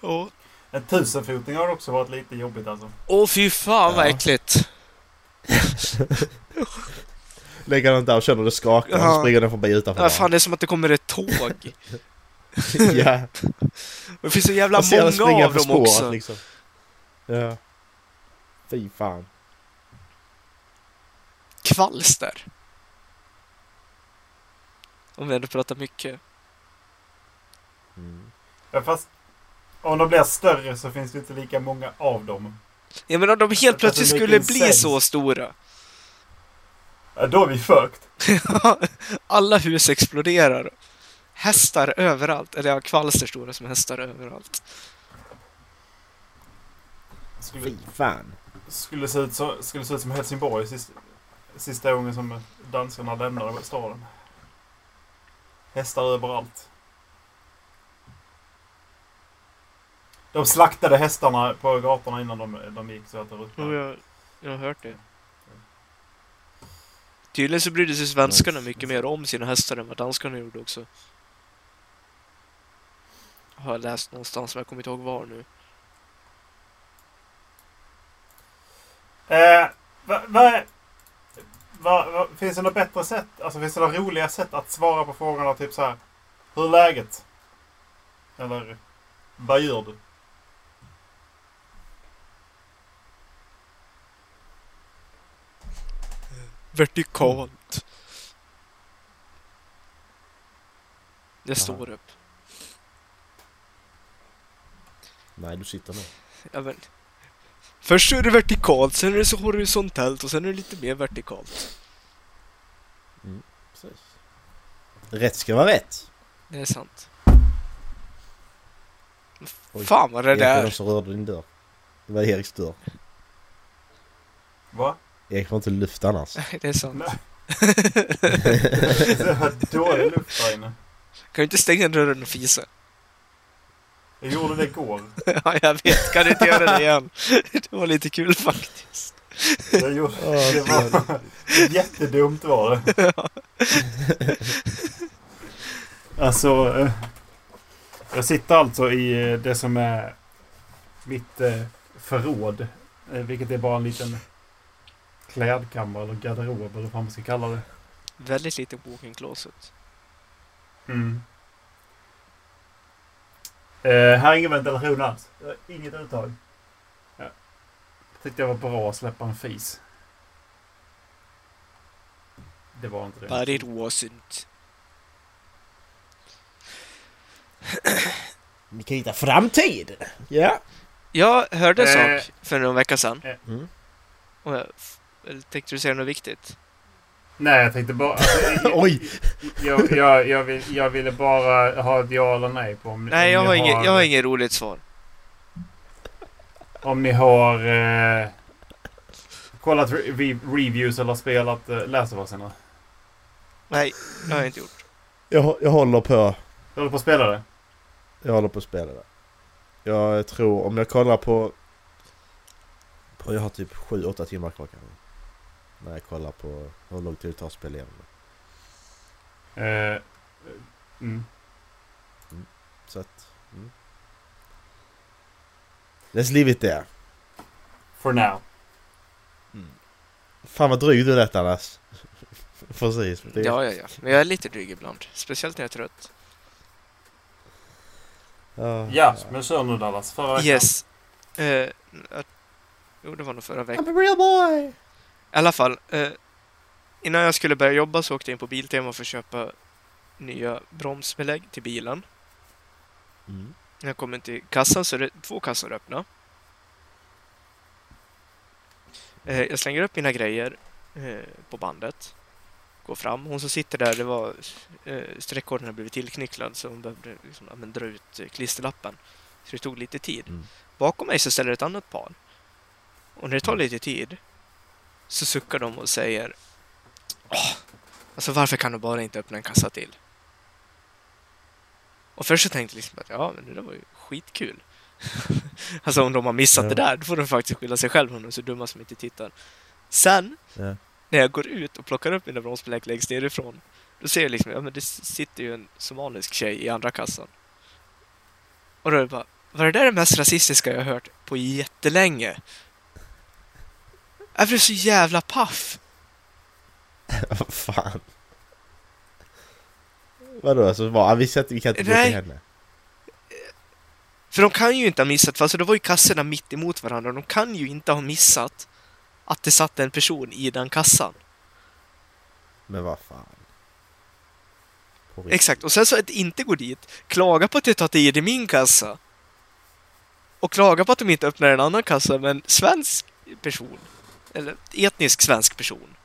Speaker 4: Åh
Speaker 2: En tusenfoting har också varit lite jobbigt alltså.
Speaker 4: fy fan vad
Speaker 3: Ja.
Speaker 4: äckligt.
Speaker 3: Lägger den där och känner det skakar.
Speaker 4: Ja.
Speaker 3: Så springer den förbi utanför.
Speaker 4: Ja, fan, det är som att det kommer ett tåg.
Speaker 3: bara. ja.
Speaker 4: Och Det finns så jävla
Speaker 3: Man ser den
Speaker 4: många
Speaker 3: springa
Speaker 4: av
Speaker 3: på
Speaker 4: dem
Speaker 3: spåret
Speaker 4: också.
Speaker 3: liksom. Ja. Fy fan.
Speaker 4: Kvalster. Om vi ändå pratar mycket.
Speaker 3: Mm.
Speaker 2: Ja, fast om de blir större så finns det inte lika många av dem.
Speaker 4: Jag menar om de helt
Speaker 2: Alltså,
Speaker 4: plötsligt
Speaker 2: det
Speaker 4: skulle
Speaker 2: making
Speaker 4: bli
Speaker 2: sense.
Speaker 4: så stora.
Speaker 2: Ja, då är vi fucked.
Speaker 4: Alla hus exploderar. Hästar överallt. Eller ja, kvalster stora som hästar överallt.
Speaker 2: Skulle,
Speaker 3: Fy fan.
Speaker 2: skulle, se ut så, skulle se ut som Helsingborg sist, sista gången som danskarna lämnade staden. Hästar överallt. De slaktade hästarna på gatorna innan de, de gick så att det ruttnade.
Speaker 4: jag, jag har hört det. Tydligen så brydde sig svenskarna mycket mer om sina hästar än vad danskarna gjorde också. Har jag läst någonstans, men jag kommer inte ihåg var nu.
Speaker 2: Eh, vad va, va, va, finns det något bättre sätt? Alltså finns det några roliga sätt att svara på frågorna? Typ så här. Hur är läget? Eller vad gör du?
Speaker 4: Vertikalt. Jag står upp.
Speaker 3: Nej, du sitter nog.
Speaker 4: Ja, men. Först så är det vertikalt, sen är det så horisontellt och sen är det lite mer vertikalt.
Speaker 3: Precis. Rätt ska vara rätt.
Speaker 4: Det är sant.
Speaker 3: Oj.
Speaker 4: Fan vad det
Speaker 3: Erik var den
Speaker 4: där...
Speaker 3: som rörde din dörr. Det var Eriks dörr.
Speaker 2: Va?
Speaker 3: Erik får inte luft annars.
Speaker 4: Det är sant.
Speaker 2: Nej. Det var dålig luft där inne.
Speaker 4: Kan ju inte stänga dörren och fisa.
Speaker 2: Jag gjorde det igår.
Speaker 4: Ja, jag vet. Kan inte göra det igen. Det var lite kul faktiskt.
Speaker 2: Jag gjorde,
Speaker 3: Åh,
Speaker 2: det var jättedumt var det. Alltså, eh, jag sitter alltså i eh, det som är mitt eh, förråd. eh, Vilket är bara en liten klädkammare eller garderob eller vad man ska kalla det.
Speaker 4: Väldigt lite walk-in closet.
Speaker 2: Mm. Eh, här är ingen ventilation alls. Jag har Inget uttag. Ja. Tyckte jag var bra att släppa en fis. Det var inte det.
Speaker 4: But it wasn't.
Speaker 3: Ni kan hitta framtid! Ja.
Speaker 4: Jag hörde en
Speaker 2: Eh.
Speaker 4: sak för någon vecka sedan.
Speaker 3: Mm.
Speaker 4: Och jag f- eller tänkte du säga något viktigt?
Speaker 2: Nej, jag tänkte bara... Alltså, jag,
Speaker 3: Oj.
Speaker 2: Jag, jag, jag, vill, jag ville bara ha ett ja eller nej på om,
Speaker 4: Nej, jag
Speaker 2: om,
Speaker 4: har,
Speaker 2: ni,
Speaker 4: inget,
Speaker 2: har,
Speaker 4: jag har inget roligt svar.
Speaker 2: om ni har eh, kollat re- re- reviews eller spelat eh, Last of Us innan.
Speaker 4: Nej, det har jag inte gjort.
Speaker 3: Jag, jag håller på.
Speaker 2: Jag håller på att spela det.
Speaker 3: Jag håller på att spela det. Jag tror, om jag kollar på... på jag har typ 7-8 timmar kvar kanske. När jag kollar på hur lång tid det tar att spela igenom det.
Speaker 2: Eh, mm.
Speaker 3: Så att... Mm. Let's leave it there.
Speaker 2: For now.
Speaker 3: Fan vad dryg du lät annars. Precis. Det,
Speaker 4: Ja, ja, ja. Men jag är lite dryg ibland. Speciellt när jag är trött.
Speaker 3: Ja.
Speaker 2: Ja, men kör nu Dallas. Förra veckan.
Speaker 4: Yes. Eh, att- jo, det var nog förra veckan.
Speaker 3: I'm a real boy!
Speaker 4: I alla fall. Eh, innan jag skulle börja jobba så åkte jag in på Biltema för att köpa nya bromsbelägg till bilen.
Speaker 3: Mm.
Speaker 4: När jag kommer till kassan så är det två kassor öppna. Eh, Jag slänger upp mina grejer eh, på bandet. Går fram. Hon som sitter där, det var eh, streckkorden hade blivit tillknycklad så hon behövde liksom, ja, men, dra ut eh, klisterlappen. Så det tog lite tid.
Speaker 3: Mm.
Speaker 4: Bakom mig så ställer ett annat par. Och när det tar lite tid så suckar de och säger Åh, alltså varför kan du bara inte öppna en kassa till? Och först så tänkte jag liksom att ja, men det där var ju skitkul. alltså om de har missat
Speaker 3: Ja.
Speaker 4: det där, då får de faktiskt skylla sig själva om de är så dumma som inte tittar. Sen,
Speaker 3: Ja.
Speaker 4: när jag går ut och plockar upp mina bromsbelägg längst nerifrån, då ser jag liksom, ja men det sitter ju en somalisk tjej i andra kassan. Och då är det bara, var det där det mest rasistiska jag har hört på jättelänge? Jag blev så jävla paff!
Speaker 3: Vad fan? Vadå? Alltså, vad? Vi, sätter, vi kan inte gå
Speaker 4: Nej.
Speaker 3: till henne.
Speaker 4: För de kan ju inte ha missat, för alltså då var ju kassorna mitt emot varandra. De kan ju inte ha missat att det satt en person i den kassan.
Speaker 3: Men vad fan? På riktigt.
Speaker 4: Exakt, och sen så att inte gå dit, klaga på att jag tar tid i min kassa. Och klaga på att de inte öppnar en annan kassa med en svensk person. Eller etnisk svensk person.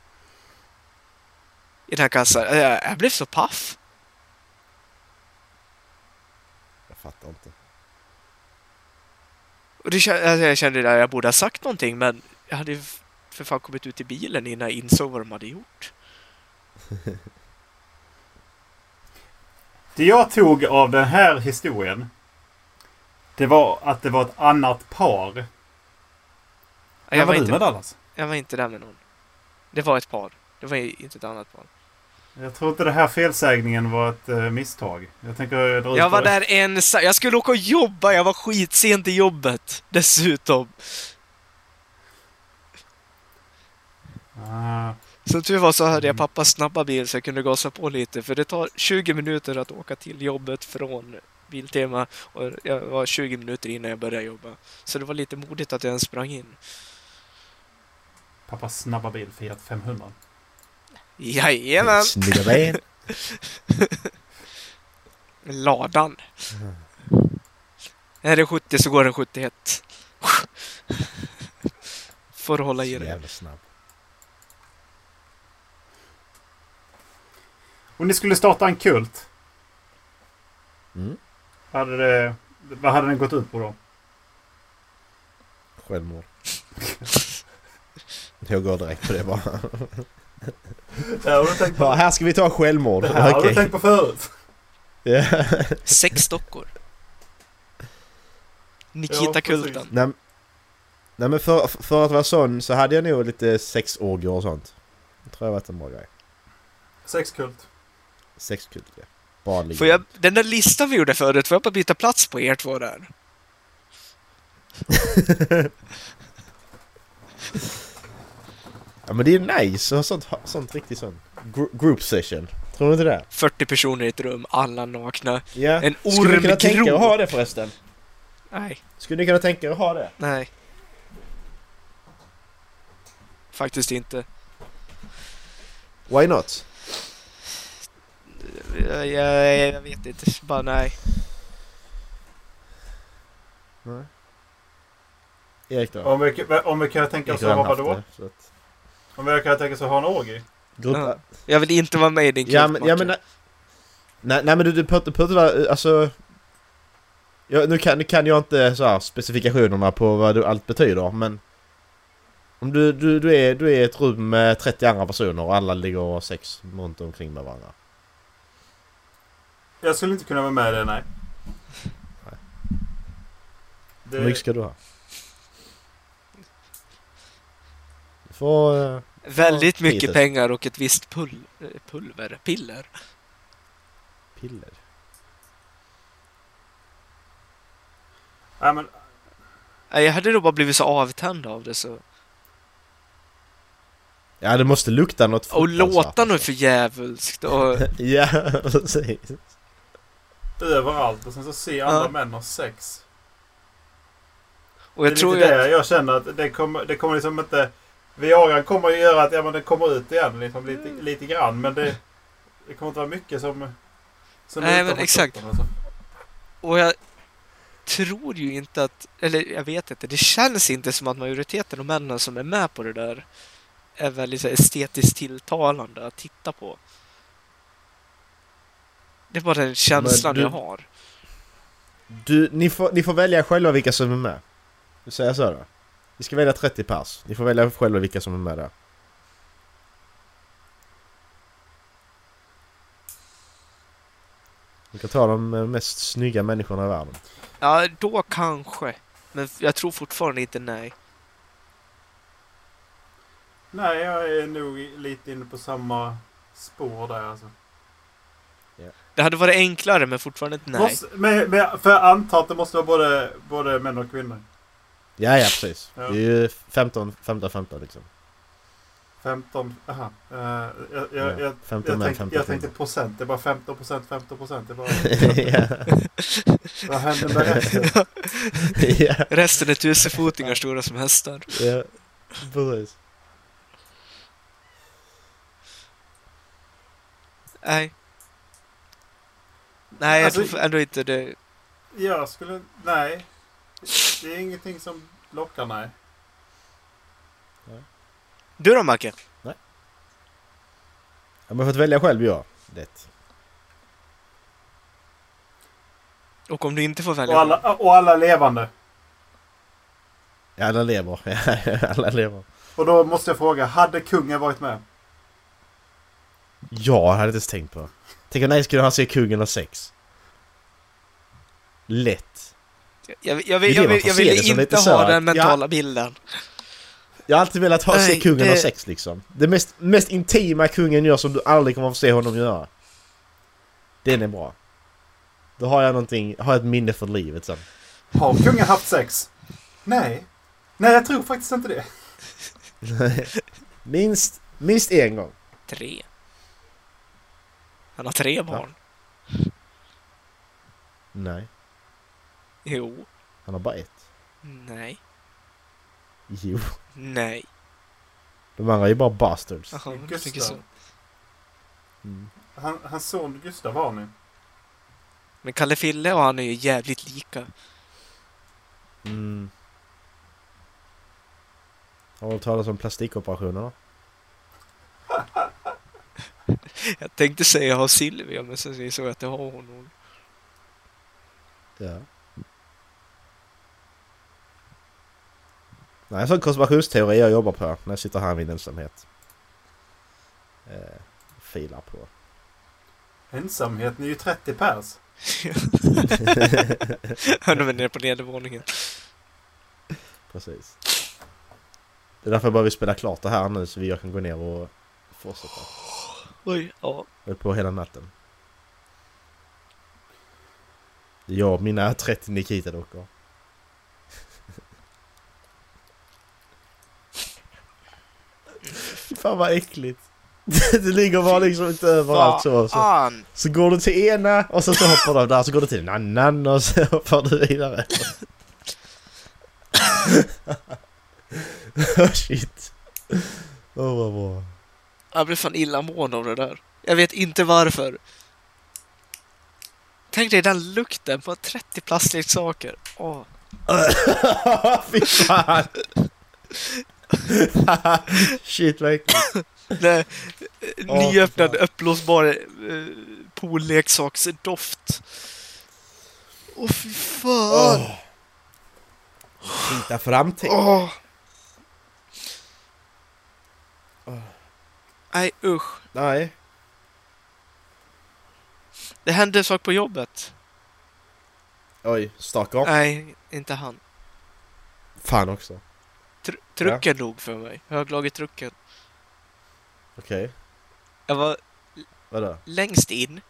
Speaker 4: I den här kassan. Eh, Jag blev så paff.
Speaker 3: Jag fattar inte.
Speaker 4: Och det, kän- alltså, jag kände att jag borde ha sagt någonting men jag hade ju f- för fan kommit ut i bilen innan jag insåg vad de hade gjort.
Speaker 2: Det jag tog av den här historien. Det var att det var ett annat par.
Speaker 4: Jag var,
Speaker 2: du
Speaker 4: inte,
Speaker 2: med Dallas?
Speaker 4: jag var inte där med någon. Det var ett par. Det var inte ett annat par.
Speaker 2: Jag tror inte det här felsägningen var ett eh, misstag. Jag tänker dra ut
Speaker 4: Jag var
Speaker 2: på-
Speaker 4: där ensam. Jag skulle åka och jobba. Jag var skitsen till jobbet. Dessutom.
Speaker 2: Ah,
Speaker 4: Som tur var så hade jag pappas snabba bil så jag kunde gasa på lite. För det tar 20 minuter att åka till jobbet från Biltema. Och jag var 20 minuter innan jag började jobba. Så det var lite modigt att jag ens sprang in.
Speaker 2: pappas snabba bil Fiat 500.
Speaker 4: Jajamän!
Speaker 3: Snygga ben.
Speaker 4: Ladan. Är det 70 så går den 71. Får hålla
Speaker 3: Så
Speaker 4: i det.
Speaker 3: jävla snabb.
Speaker 2: Om ni skulle starta en kult.
Speaker 3: Mm.
Speaker 2: Hade det, vad hade den gått ut på då?
Speaker 3: Självmord. Jag går direkt på det bara.
Speaker 2: Det här har du tänkt
Speaker 3: Ja, här ska vi ta självmord. Okej.
Speaker 2: på förut.
Speaker 3: Ja.
Speaker 4: Sex dockor.
Speaker 2: Ja, precis.
Speaker 4: Nikita-kulten.
Speaker 3: Nej, nej men för, för att vara sån så hade jag nog lite sexorgier och sånt. Det tror jag varit en bra grej.
Speaker 2: Sexkult.
Speaker 3: Sexkult ja. Bara ligga.
Speaker 4: Får jag, den där listan vi gjorde förut, får jag bara byta plats på er två där?
Speaker 3: Ja men det är nice att ha sånt, ha- sånt riktigt sånt. Gr group session. Tror du inte det?
Speaker 4: 40 personer i ett rum, alla nakna.
Speaker 3: Ja.
Speaker 4: En
Speaker 3: Skulle ni kunna tänka er att
Speaker 4: ormgrop.
Speaker 3: ha det förresten?
Speaker 4: Nej,
Speaker 3: Skulle ni kunna tänka er att ha det?
Speaker 4: nej. Faktiskt inte.
Speaker 3: Why not?
Speaker 4: Jag, jag, jag vet inte, bara nej.
Speaker 3: Nej. Erik då?
Speaker 2: Om vi, om vi kan tänka oss
Speaker 3: Erik har
Speaker 2: att
Speaker 3: redan
Speaker 2: ha
Speaker 3: haft
Speaker 2: då?
Speaker 3: det, så att-
Speaker 2: Om vi kan tänka oss att ha en orgie?
Speaker 3: Gruppa-
Speaker 4: Ja. Jag vill inte vara med i din kult,
Speaker 3: Ja men, ja,
Speaker 4: Macke.
Speaker 3: men nej, nej, nej men du, du pratar, pratar väl, alltså ja, nu, kan, nu kan jag inte så här, specifikationerna på vad du, allt betyder men Om du, du, du, är, du är i ett rum med 30 andra personer och alla ligger och har sex runt omkring med varandra
Speaker 2: Jag skulle inte kunna vara med i det, nej.
Speaker 3: Nej. Hur mycket
Speaker 2: Det,
Speaker 3: ska du ha? Du får... eh,
Speaker 4: Väldigt mycket
Speaker 3: Jesus.
Speaker 4: pengar och ett visst pul pulver, piller.
Speaker 3: piller
Speaker 2: nej men,
Speaker 4: Nej, Jag hade nog bara blivit så avtänd av det så.
Speaker 3: Ja det måste lukta något
Speaker 4: Och låta
Speaker 3: fruktansvärt. alltså.
Speaker 4: något för djävulskt och...
Speaker 3: Ja precis
Speaker 2: överallt och sen så se andra
Speaker 4: Ja.
Speaker 2: män ha sex.
Speaker 4: och jag
Speaker 2: det är
Speaker 4: tror ju
Speaker 2: lite
Speaker 4: att...
Speaker 2: det jag känner att det kommer, det kommer liksom inte... Viagran kommer ju göra att ja, men det kommer ut igen liksom, lite,
Speaker 4: Mm.
Speaker 2: lite grann men det, det kommer inte vara mycket som... som
Speaker 4: Nej,
Speaker 2: lutar
Speaker 4: men
Speaker 2: mot
Speaker 4: exakt.
Speaker 2: toppen, alltså.
Speaker 4: Och jag tror ju inte att, eller jag vet inte, det känns inte som att majoriteten av männen som är med på det där är väldigt så här, estetiskt tilltalande att titta på. Det är bara den känslan
Speaker 3: du-
Speaker 4: jag har.
Speaker 3: Du, ni, får, ni får välja själva vilka som är med. Du säger så då? Vi ska välja 30 pers. Ni får välja själva vilka som är med där. Ni kan ta de eh, mest snygga människorna i världen.
Speaker 4: Ja, då kanske. Men jag tror fortfarande inte nej.
Speaker 2: Nej, jag är nog lite inne på samma spår där alltså.
Speaker 4: Det hade varit enklare men fortfarande inte nej.
Speaker 2: Måste, men, men, för jag antar att det måste vara både, både män och kvinnor.
Speaker 3: Ja, ja precis.
Speaker 2: Ja.
Speaker 3: Det är ju 15, 15, 15 liksom.
Speaker 2: 15... Aha. Eh, jag,
Speaker 3: Ja,
Speaker 2: jag, jag,
Speaker 3: 15
Speaker 2: jag, tänkte,
Speaker 3: män, 15
Speaker 2: jag
Speaker 3: kvinnor.
Speaker 2: tänkte procent. Det är bara 15 procent, 15 procent. Det är bara...
Speaker 3: ja.
Speaker 2: Vad händer med resten?
Speaker 3: ja,
Speaker 4: Resten är tusenfotingar stora som hästar.
Speaker 3: ja, precis.
Speaker 4: Nej. Nej, jag
Speaker 2: Alltså-
Speaker 4: tror ändå inte det.
Speaker 2: Jag skulle... Nej. Det är ingenting som lockar mig.
Speaker 4: Du då Macke?
Speaker 3: Ja, men för att välja själv, ja. Det.
Speaker 4: Och om du inte får välja?
Speaker 2: Och alla, och alla levande.
Speaker 3: Ja, alla lever. alla lever.
Speaker 2: Och då måste jag fråga, hade kungen varit med?
Speaker 3: Ja, jag hade inte ens tänkt på. Tänk om nej skulle han se kungen ha sex. Lätt.
Speaker 4: Jag, jag,
Speaker 3: Det är
Speaker 4: vill,
Speaker 3: det
Speaker 4: jag,
Speaker 3: man
Speaker 4: vill,
Speaker 3: får
Speaker 4: jag
Speaker 3: se det
Speaker 4: vill
Speaker 3: som lite
Speaker 4: inte
Speaker 3: så
Speaker 4: ha
Speaker 3: här.
Speaker 4: den mentala bilden.
Speaker 3: Jag har alltid velat ha se
Speaker 4: Nej,
Speaker 3: kungen ha
Speaker 4: det-
Speaker 3: sex liksom. Det mest, mest intima kungen gör som du aldrig kommer att få se honom göra. Den är bra. Då har jag någonting, har jag ett minne för livet sen.
Speaker 2: Har kungen haft sex? Nej. Nej, jag tror faktiskt inte det.
Speaker 3: minst, minst en gång.
Speaker 4: Tre. Han har tre barn.
Speaker 3: Nej,
Speaker 4: Jo.
Speaker 3: han har bara ett.
Speaker 4: Nej.
Speaker 3: Jo,
Speaker 4: Nej.
Speaker 3: de andra är ju bara bastards.
Speaker 4: Jaha, men jag tänker så.
Speaker 2: Gustav. Han, hans son Gustav har ni.
Speaker 4: Men Kalle Fille och han är ju jävligt lika.
Speaker 3: Mm. Har du hört talas om plastikoperationerna?
Speaker 4: Jag tänkte säga jag har Silvia, men sen insåg jag att det har hon nog.
Speaker 3: Ja. Nej, en sån konspirationsteori jag jobbar på när jag sitter här i min ensamhet. Eh, filar på.
Speaker 2: Ensamhet, ni är ju 30 pers.
Speaker 4: Han är nere på nedervåningen.
Speaker 3: Precis. Det är därför jag bara vill spela klart det här nu så vi jag kan gå ner och fortsätta.
Speaker 4: Oj, ja.
Speaker 3: Jag är på hela natten. Det är jag och mina 30 Nikita-dockor. Fy Fan vad äckligt. Det ligger bara liksom inte överallt så. så.
Speaker 4: Fan!
Speaker 3: Så går du till ena och så, så hoppar du där, så går du till en annan och så hoppar du vidare. Oh, Shit. Åh vad bra.
Speaker 4: Jag blir fan illamående av det där. Jag vet inte varför. Tänk dig den lukten på 30 plastleksaker. Åh.
Speaker 3: Fy fan! Shit vad äckligt.
Speaker 4: Nej,
Speaker 3: Åh,
Speaker 4: eh, nyöppnad
Speaker 3: för
Speaker 4: uppblåsbar eh, polleksaksdoft. Åh fy fan!
Speaker 3: Åh. Titta fram till.
Speaker 4: Åh. Nej usch.
Speaker 3: Nej.
Speaker 4: Det hände en sak på jobbet.
Speaker 3: Oj, stakar.
Speaker 4: Nej, inte han.
Speaker 3: Fan också.
Speaker 4: Tr- trucken dog för mig. Höglaget trucken.
Speaker 3: Okej,
Speaker 4: Jag var
Speaker 3: vadå?
Speaker 4: längst in.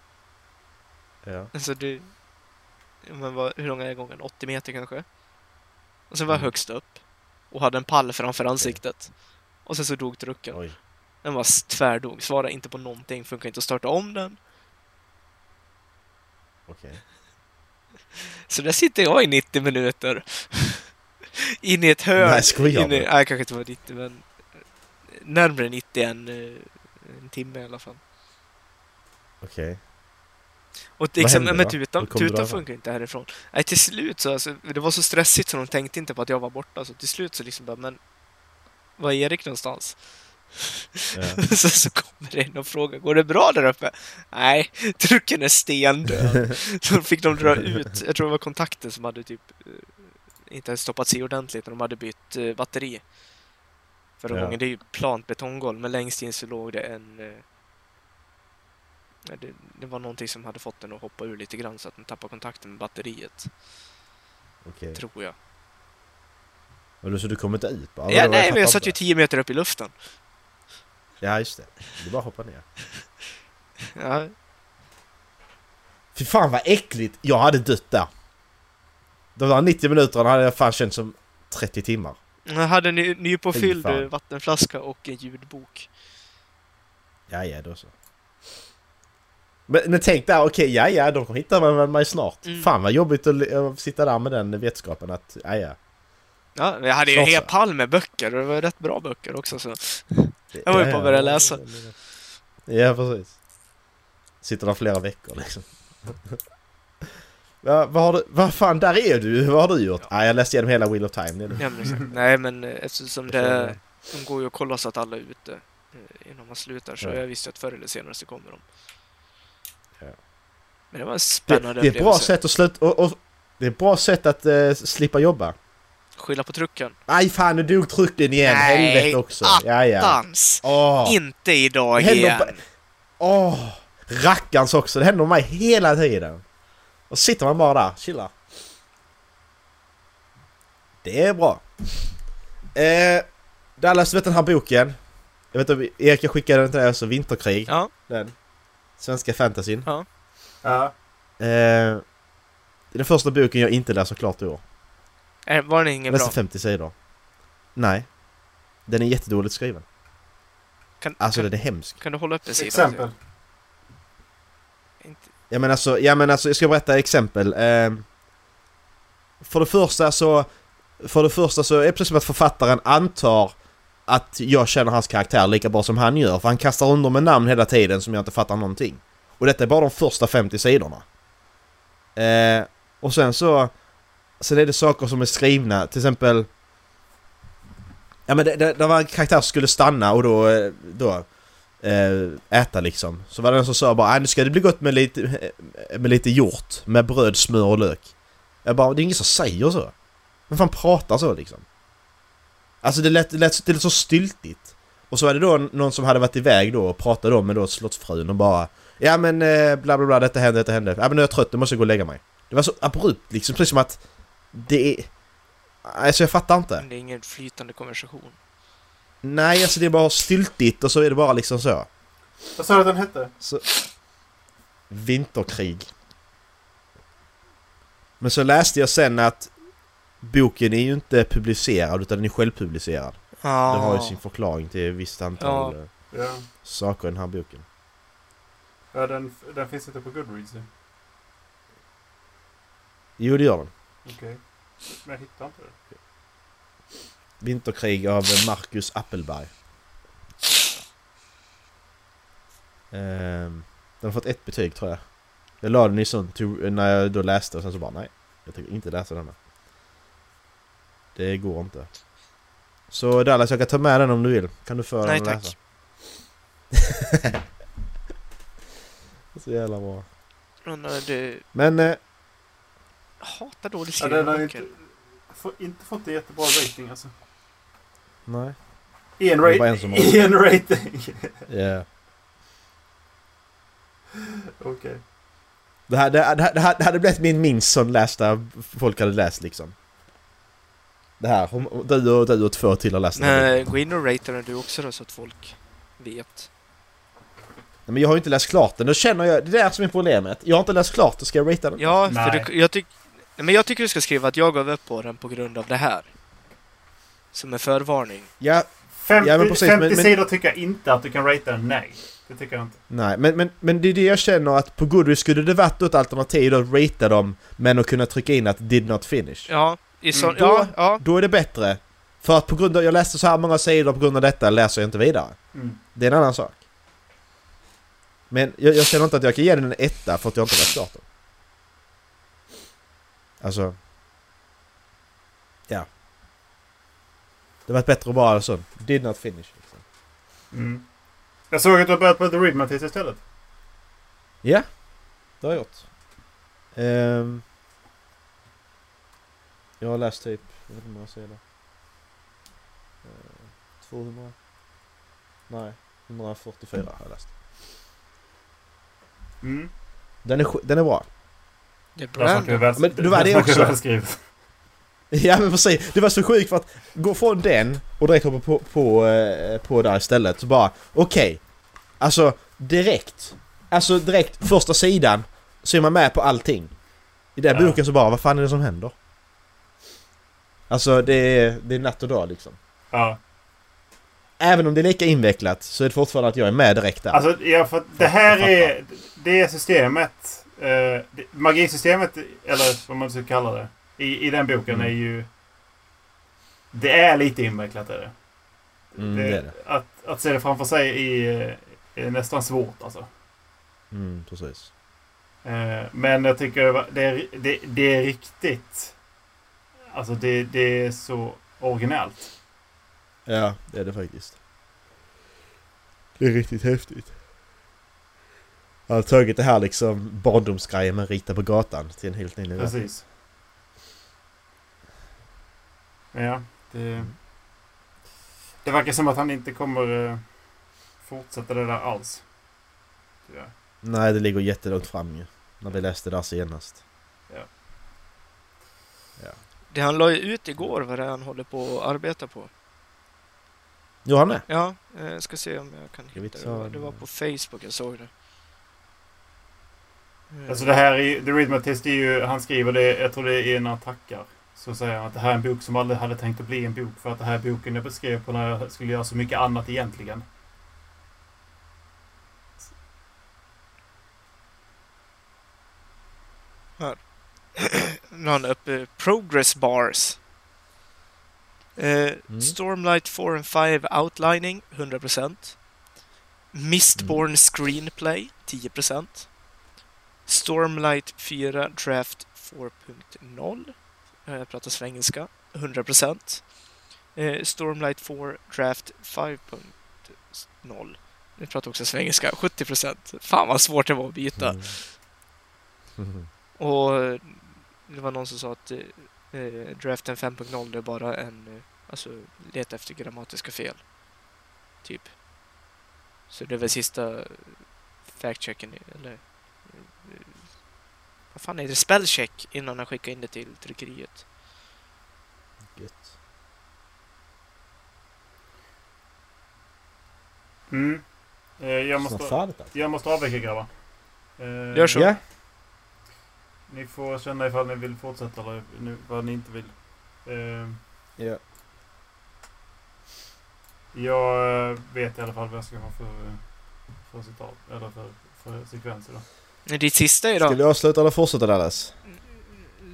Speaker 3: Ja.
Speaker 4: Alltså du... Men vad, hur lång är gången? 80 meter kanske? Och sen var jag
Speaker 3: Mm.
Speaker 4: högst upp. Och hade en pall framför ansiktet. Och sen så dog trucken.
Speaker 3: Oj.
Speaker 4: Den var s- tvärdog, svarade inte på någonting, funkar inte att starta om den.
Speaker 3: Okej.
Speaker 4: Så där sitter jag i 90 minuter. in i ett hörn.
Speaker 3: Nej, skojar
Speaker 4: in i,
Speaker 3: du?
Speaker 4: Nej, kanske inte var 90, men närmare 90 än eh, en timme i alla fall.
Speaker 3: Okej.
Speaker 4: Och liksom,
Speaker 3: hände
Speaker 4: men
Speaker 3: då?
Speaker 4: tutan,
Speaker 3: Hur kom du
Speaker 4: tutan
Speaker 3: därifrån?
Speaker 4: funkar inte härifrån. Nej, till slut så, alltså, det var så stressigt så de tänkte inte på att jag var borta, så till slut så liksom bara, men var är Erik någonstans?
Speaker 3: Ja.
Speaker 4: Sen så kommer det in och frågar, går det bra där uppe? Nej, trucken är stendöd. så fick de dra ut, jag tror det var kontakten som hade typ eh, inte ens stoppat sig ordentligt när de hade bytt eh, batteri. Förra
Speaker 3: Ja.
Speaker 4: gången, det är ju plant betonggolv, men längst in så låg det en... eh, nej, Det, det var någonting som hade fått den att hoppa ur lite grann så att den tappade kontakten med batteriet,
Speaker 3: Okej.
Speaker 4: tror jag.
Speaker 3: Okay. Så du kommer inte ut? Bara,
Speaker 4: Ja,
Speaker 3: vadå,
Speaker 4: nej, men jag
Speaker 3: fattar
Speaker 4: satt ju
Speaker 3: inte.
Speaker 4: 10 meter upp i luften.
Speaker 3: Ja, just det. Du bara hoppar ner.
Speaker 4: Ja,
Speaker 3: Fy fan vad äckligt! Jag hade dött där. De där 90 minuterna hade jag fan känt som 30 timmar.
Speaker 4: Jag hade en ny, nypåfylld
Speaker 3: Fy fan.
Speaker 4: eh, vattenflaska och en ljudbok.
Speaker 3: Ja, ja, då så. Men, men tänk där, okej, ja, ja, de kommer hitta mig, mig, mig snart.
Speaker 4: Mm.
Speaker 3: Fan vad jobbigt att li- att sitta där med den vetskapen att, ja, ja.
Speaker 4: Ja, jag hade ju en
Speaker 3: Klart
Speaker 4: hel
Speaker 3: så.
Speaker 4: pall med böcker och det var rätt bra böcker också så.
Speaker 3: det-
Speaker 4: Jag var ju
Speaker 3: ja,
Speaker 4: på
Speaker 3: ja,
Speaker 4: att börja
Speaker 3: ja,
Speaker 4: läsa.
Speaker 3: ja, Ja, precis. Sitter där flera veckor liksom. ja, vad har du, vad fan, där är du! Vad har du gjort? Ja, jag läste igenom hela Wheel of Time. Det är lugnt.
Speaker 4: Ja, men exakt. Nej men eh, eftersom
Speaker 3: förstår
Speaker 4: det,
Speaker 3: det.
Speaker 4: de går ju att kolla så att alla är ute eh, innan man slutar så
Speaker 3: Ja.
Speaker 4: jag visste att förr eller senare så kommer de.
Speaker 3: Ja.
Speaker 4: Men det var en
Speaker 3: Det,
Speaker 4: spännande
Speaker 3: det är ett bra sätt att sluta, och, och, det är ett bra sätt att eh, slippa jobba.
Speaker 4: Skylla på trucken.
Speaker 3: Aj fan, nu dog trycken igen!
Speaker 4: Nej,
Speaker 3: Helvete också! Ja, ja.
Speaker 4: Dans!
Speaker 3: Åh!
Speaker 4: Inte idag
Speaker 3: Hello,
Speaker 4: igen!
Speaker 3: ba- Åh! rackarns också, det händer mig hela tiden. Och sitter man bara där, chillar. Det är bra. Eh, Dallas, du vet den här boken? Jag vet inte, Erik jag skickade den till dig också, Vinterkrig.
Speaker 4: Ja.
Speaker 3: Den. Svenska fantasyn.
Speaker 2: Ja.
Speaker 3: Eh, det är den första boken jag inte läser klart i år.
Speaker 4: Eh, Var den ingen
Speaker 3: Jag
Speaker 4: bra?
Speaker 3: läste 50 sidor. Nej. Den är jättedåligt skriven.
Speaker 4: Kan,
Speaker 3: Alltså
Speaker 4: kan,
Speaker 3: den är hemsk.
Speaker 4: kan du hålla upp en sida?
Speaker 2: Exempel.
Speaker 4: Inte-
Speaker 3: Ja men alltså, ja, men alltså jag ska berätta exempel. Ehm, för det första så för det första så är det precis som att författaren antar att jag känner hans karaktär lika bra som han gör, för han kastar under med namn hela tiden som jag inte fattar någonting. Och detta är bara de första 50 sidorna. Eh, och sen så, sen är det saker som är skrivna, till exempel... Ja men det, det, det var en karaktär som skulle stanna och då, eh, då eh, äta liksom. Så var det en som sa bara "Ah, nu ska det bli gott med lite, med lite hjort, med bröd, smör och lök. Jag bara, det är ingen som säger så. Vem fan pratar så liksom? Alltså det lät, det lät, det lät så styltigt. Och så var det då någon som hade varit iväg då och pratade om med då slottsfrun och bara Ja men eh, bla bla bla, detta hände, detta hände. Ja men nu är jag trött, nu måste jag gå och lägga mig. Det var så abrupt liksom, precis som att det är... Alltså jag fattar inte.
Speaker 4: Det är ingen flytande konversation.
Speaker 3: Nej, alltså det är bara styltigt och så är det bara liksom så.
Speaker 2: Vad sa du att den hette?
Speaker 3: Så... Vinterkrig. Men så läste jag sen att boken är ju inte publicerad utan den är självpublicerad.
Speaker 4: Ah.
Speaker 3: Den har ju sin förklaring till ett visst antal eh,
Speaker 2: Ja.
Speaker 3: saker i den här boken.
Speaker 2: ja den, den finns inte på Goodreads. ju.
Speaker 3: Jo, det gör den.
Speaker 2: Okej. Men jag hittar inte det.
Speaker 3: Vinterkrig av eh, Marcus Appelberg. Ehm, den har fått ett betyg tror jag. Jag la den i sånt till- när jag då läste och sen så bara nej. Jag tänker inte läsa den här. Det går inte. Så Dallas jag kan ta med den om du vill. Kan du föra
Speaker 4: Nej,
Speaker 3: den och
Speaker 4: tack.
Speaker 3: läsa? Så jävla bra.
Speaker 4: Undrar du
Speaker 3: Men eh,
Speaker 4: hatar dåligt
Speaker 2: Ja,
Speaker 4: skrivna
Speaker 2: den har ju
Speaker 4: böcker.
Speaker 2: inte, få, inte fått en jättebra rating alltså.
Speaker 3: nej.
Speaker 2: En,
Speaker 3: Det
Speaker 2: ra-
Speaker 3: är bara en som har-
Speaker 2: en rating.
Speaker 3: Yeah.
Speaker 2: Okej.
Speaker 3: Det, här, det, här, det, här, det här det hade blivit min minst som lästa folk hade läst liksom. Det här, om- om du och du och två till har läst den här
Speaker 4: Nej,
Speaker 3: boken.
Speaker 4: gå in och rata den du också då så att folk vet.
Speaker 3: Nej, Men jag har ju inte läst klart den, då känner jag, det är det här som är problemet. Jag har inte läst klart, då ska jag ratea den.
Speaker 4: Ja,
Speaker 2: Nej.
Speaker 4: för du, jag, tyck, Nej, men jag tycker du ska skriva att jag gav upp på den på grund av det här. Som en förvarning.
Speaker 3: Ja,
Speaker 2: 50,
Speaker 3: Ja, men precis,
Speaker 2: 50
Speaker 3: men- men-
Speaker 2: sidor tycker jag inte att du kan ratea den. Nej. Det tycker jag inte.
Speaker 3: nej, men, men, men det är det jag känner att på Goodreads skulle det varit ett alternativ att ratea dem, men att kunna trycka in att did not finish.
Speaker 4: Ja, i så,
Speaker 2: Mm.
Speaker 4: ja, ja.
Speaker 3: Då är det bättre. För att på grund av, jag läste så här många sidor på grund av detta läser jag inte vidare.
Speaker 2: Mm.
Speaker 3: Det är en annan sak. Men jag, jag känner inte att jag kan ge den en etta för att jag inte läst klart den. Alltså... Ja. Det var bättre att bara så. Did not finish. Liksom.
Speaker 2: Mm. Jag såg att du har börjat på The Rim Mattias istället.
Speaker 3: Ja, det har jag gjort. Ehm, jag har läst typ, jag vet inte hur många sidor. Ehm, 200? Nej, 144 har jag läst.
Speaker 2: Mm.
Speaker 3: Den är, sk- den är bra.
Speaker 4: Det är
Speaker 2: Där snackar vi
Speaker 4: Brandon.
Speaker 2: väl,
Speaker 3: Men det var
Speaker 2: där
Speaker 3: det
Speaker 2: snackar vi
Speaker 3: också.
Speaker 2: välskrivet.
Speaker 3: Ja men precis, det var så sjukt för att gå från den och direkt hoppa på, på, eh, på där istället. Så bara, okej. Alltså direkt. Alltså direkt första sidan så är man med på allting. I den
Speaker 2: Ja.
Speaker 3: boken så bara, vad fan är det som händer? Alltså det är, det är natt och dag liksom.
Speaker 2: Ja.
Speaker 3: Även om det är lika invecklat så är det fortfarande att jag är med direkt där.
Speaker 2: Alltså, ja, för att det här
Speaker 3: Jag
Speaker 2: är... Det är systemet... Eh, det- magisystemet, eller vad man ska kalla det, i, i den boken
Speaker 3: Mm.
Speaker 2: är ju... Det är lite invecklat är det.
Speaker 3: Mm, det är det.
Speaker 2: Eh, Att, att se det framför sig i, eh, är nästan svårt alltså.
Speaker 3: Mm, precis.
Speaker 2: Eh, Men jag tycker det var- det är, det, det är riktigt... Alltså det, det är så originellt.
Speaker 3: Ja, det är det faktiskt. Det är riktigt häftigt. Jag har tagit det här liksom barndomsgrejen med rita på gatan till en helt ny nivå.
Speaker 2: Precis. Ja, det... Det verkar som att han inte kommer eh, fortsätta det där alls. Tyvärr.
Speaker 3: Nej, det ligger jättelångt fram ju. När vi läste det där senast.
Speaker 4: Det han la ju ut igår vad det är han håller på och arbetar på.
Speaker 3: Johan med?
Speaker 4: Ja, jag ska se om jag kan
Speaker 3: Ska vi
Speaker 4: hitta
Speaker 3: ta
Speaker 4: det. Det var
Speaker 3: en-
Speaker 4: på Facebook jag såg det. Eh,
Speaker 2: Alltså det här är ju- The Rhythmatist är ju, han skriver det, jag tror det är när han tackar. Så säger han att det här är en bok som aldrig hade tänkt att bli en bok för att det här är boken jag beskrev på när jag skulle göra så mycket annat egentligen.
Speaker 4: Nu har han Eh, uppe Progress Bars. Eh,
Speaker 3: Mm.
Speaker 4: Stormlight 4 and 5 Outlining 100%. Mistborn Screenplay 10%. Stormlight 4 Draft 4.0. Eh, Jag pratar svengelska. 100%. Eh, Stormlight 4 Draft 5.0. Nu pratar jag också svengelska. 70%. Fan vad svårt det var att byta.
Speaker 3: Mm.
Speaker 4: Och eh, det var någon som sa att eh, eh, draften 5.0 det är bara en... Eh, alltså leta efter grammatiska fel. Typ. Så det var sista eh, fact-checken, i- eller... eh, Vad fan är det? Spellcheck innan han skickade in det till tryckeriet.
Speaker 3: Gött.
Speaker 2: Mm. Eh, Jag
Speaker 3: Snart
Speaker 2: måste,
Speaker 3: färdigt alltså.
Speaker 2: jag måste avvika grabbar. Eh,
Speaker 4: Gör så.
Speaker 3: Ja.
Speaker 2: Ni får känna ifall ni vill fortsätta eller nu, vad ni inte vill. Eh,
Speaker 3: ja.
Speaker 2: jag eh, vet i alla fall vad jag ska ha för, eh, för citat, eller för, för sekvens idag.
Speaker 4: Men ditt sista
Speaker 3: Ska
Speaker 4: idag.
Speaker 3: vi avsluta eller fortsätta Dallas?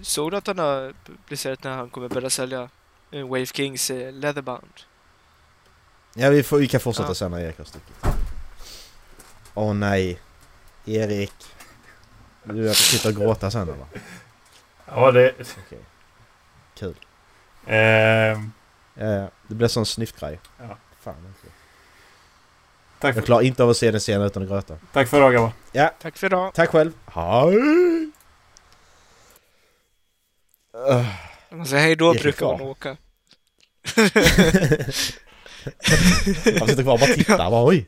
Speaker 4: Såg du att han har publicerat när han kommer börja sälja eh, Wave Kings eh, Leatherbound?
Speaker 3: Ja, vi, får, vi kan fortsätta
Speaker 4: Ja.
Speaker 3: sen när Erik har stuckit. Åh nej. Erik. Du jag sitter och gråta sen eller?
Speaker 2: Ja, det...
Speaker 3: Okej. Kul.
Speaker 2: Eh,
Speaker 3: Ja, ja. Det blir sån snyftgrej.
Speaker 2: Ja.
Speaker 3: Fan inte.
Speaker 2: tack,
Speaker 3: Jag
Speaker 2: för,
Speaker 3: klarar inte av att se den scenen utan att gråta.
Speaker 2: tack för idag grabbar.
Speaker 4: Tack för idag.
Speaker 3: Tack själv! Hej! Öh.
Speaker 4: Om man säger hej då
Speaker 3: Det är
Speaker 4: brukar
Speaker 3: reklam.
Speaker 4: man åka.
Speaker 3: Man sitter kvar och bara tittar. Bara, oj.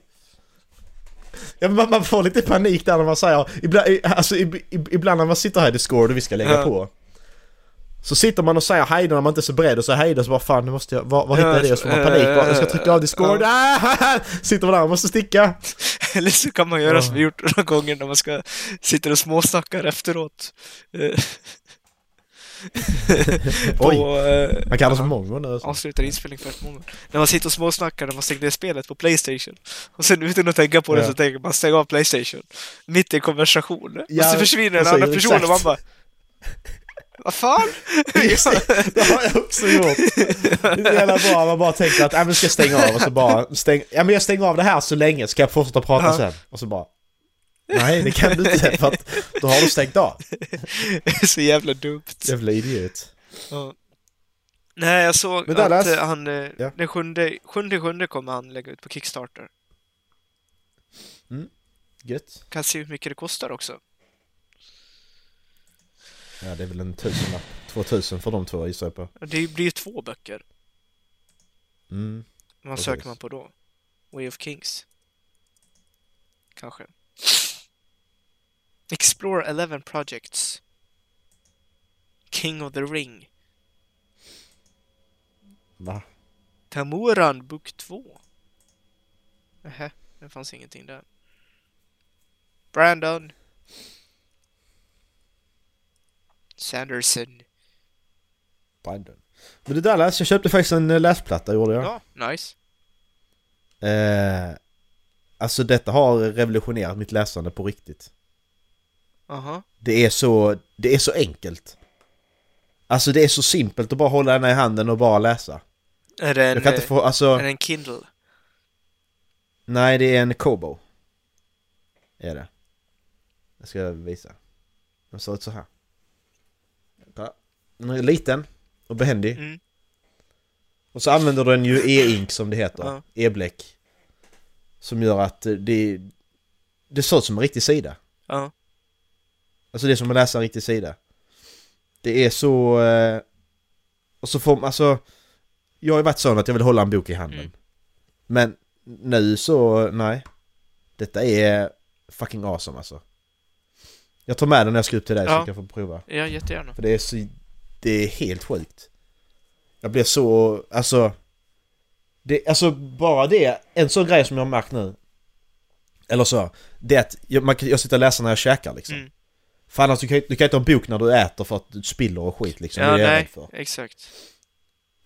Speaker 3: Ja, men man, man får lite panik där när man säger... Ibland, i- alltså, ib, ib, ibland när man sitter här i Discord och vi ska lägga
Speaker 4: Ja.
Speaker 3: på. Så sitter man och säger hej då när man inte är så beredd och säger hej då så bara fan nu måste jag... Var, var hittar
Speaker 4: Ja,
Speaker 3: jag det? Och så får man panik bara, jag ska trycka av Discord.
Speaker 4: Ja.
Speaker 3: Ah, sitter man där och måste sticka.
Speaker 4: Eller så kan man göra
Speaker 3: Ja.
Speaker 4: som vi gjort några gånger när man ska sitta och småsnackar efteråt. Eh, på,
Speaker 3: Oj,
Speaker 4: eh,
Speaker 3: man kallas för mongo nu. alltså.
Speaker 4: avslutar inspelning för ett moment. När man sitter och småsnackar när man stänger ner spelet på Playstation. Och sen utan att tänka på det
Speaker 3: Ja.
Speaker 4: så tänker man stäng av Playstation. Mitt i en konversation.
Speaker 3: Ja,
Speaker 4: och så försvinner en
Speaker 3: precis,
Speaker 4: annan person och man
Speaker 3: exakt.
Speaker 4: bara... Vad fan?
Speaker 3: Just det, det har jag också gjort. Det är så jävla bra, man bara tänker att äh, men ska jag stänga av och så bara stäng, ja, men jag stänger av det här så länge ska jag fortsätta prata
Speaker 4: Ja.
Speaker 3: sen. Och så bara Nej det kan du inte för att då har du stängt av.
Speaker 4: Det är så jävla dumt.
Speaker 3: Jävla idiot.
Speaker 4: Ja. Nej, jag såg
Speaker 3: Men Dallas-
Speaker 4: att eh, han, eh,
Speaker 3: Ja.
Speaker 4: den sjunde, sjunde, sjunde kommer han lägga ut på Kickstarter.
Speaker 3: Gött.
Speaker 4: Kan se hur mycket det kostar också.
Speaker 3: Ja, det är väl en tusenlapp. 2000 för de två gissar jag på.
Speaker 4: Det blir ju två böcker.
Speaker 3: Mm.
Speaker 4: Vad
Speaker 3: Precis.
Speaker 4: söker man på då? Way of Kings? Kanske. Explore 11 Projects. King of the Ring.
Speaker 3: Va?
Speaker 4: Tamuran Book 2. Nähä, det fanns ingenting där. Brandon. Sanderson.
Speaker 3: Brandon. Men du Dallas, jag köpte faktiskt en eh, läsplatta gjorde jag.
Speaker 4: Ja, nice.
Speaker 3: Eh, alltså detta har revolutionerat mitt läsande på riktigt.
Speaker 4: Aha.
Speaker 3: Det är så, det är så enkelt. Alltså det är så simpelt att bara hålla den här i handen och bara läsa.
Speaker 4: Är det en, eh,
Speaker 3: Jag kan inte få, alltså,
Speaker 4: är det en Kindle?
Speaker 3: nej det är en Kobo. Är det. Jag ska visa. Den ser ut så här. Kolla. Den är liten och behändig.
Speaker 4: Mm.
Speaker 3: Och så använder den ju e-ink som det heter,
Speaker 4: Ja.
Speaker 3: e-bläck. Som gör att eh, det, det ser ut som en riktig sida.
Speaker 4: Ja.
Speaker 3: Alltså det är som att läsa en riktig sida. Det är så... Eh, och så får man, alltså... Jag har ju varit sån att jag vill hålla en bok i handen.
Speaker 4: Mm.
Speaker 3: Men nu så, nej. Detta är fucking awesome alltså. Jag tar med den när jag ska upp till dig så
Speaker 4: Ja.
Speaker 3: jag kan få prova.
Speaker 4: Ja, jättegärna.
Speaker 3: För det är så... Det är helt sjukt. Jag blir så... Alltså... Det, alltså bara det, en sån grej som jag har märkt nu. Eller så, det är att jag, man, kan- jag sitter och läser när jag käkar liksom.
Speaker 4: Mm.
Speaker 3: För annars du kan, ju- du kan inte ha en bok när du äter för att du spiller och skit liksom.
Speaker 4: Ja,
Speaker 3: det är jag rädd
Speaker 4: nej,
Speaker 3: för.
Speaker 4: exakt.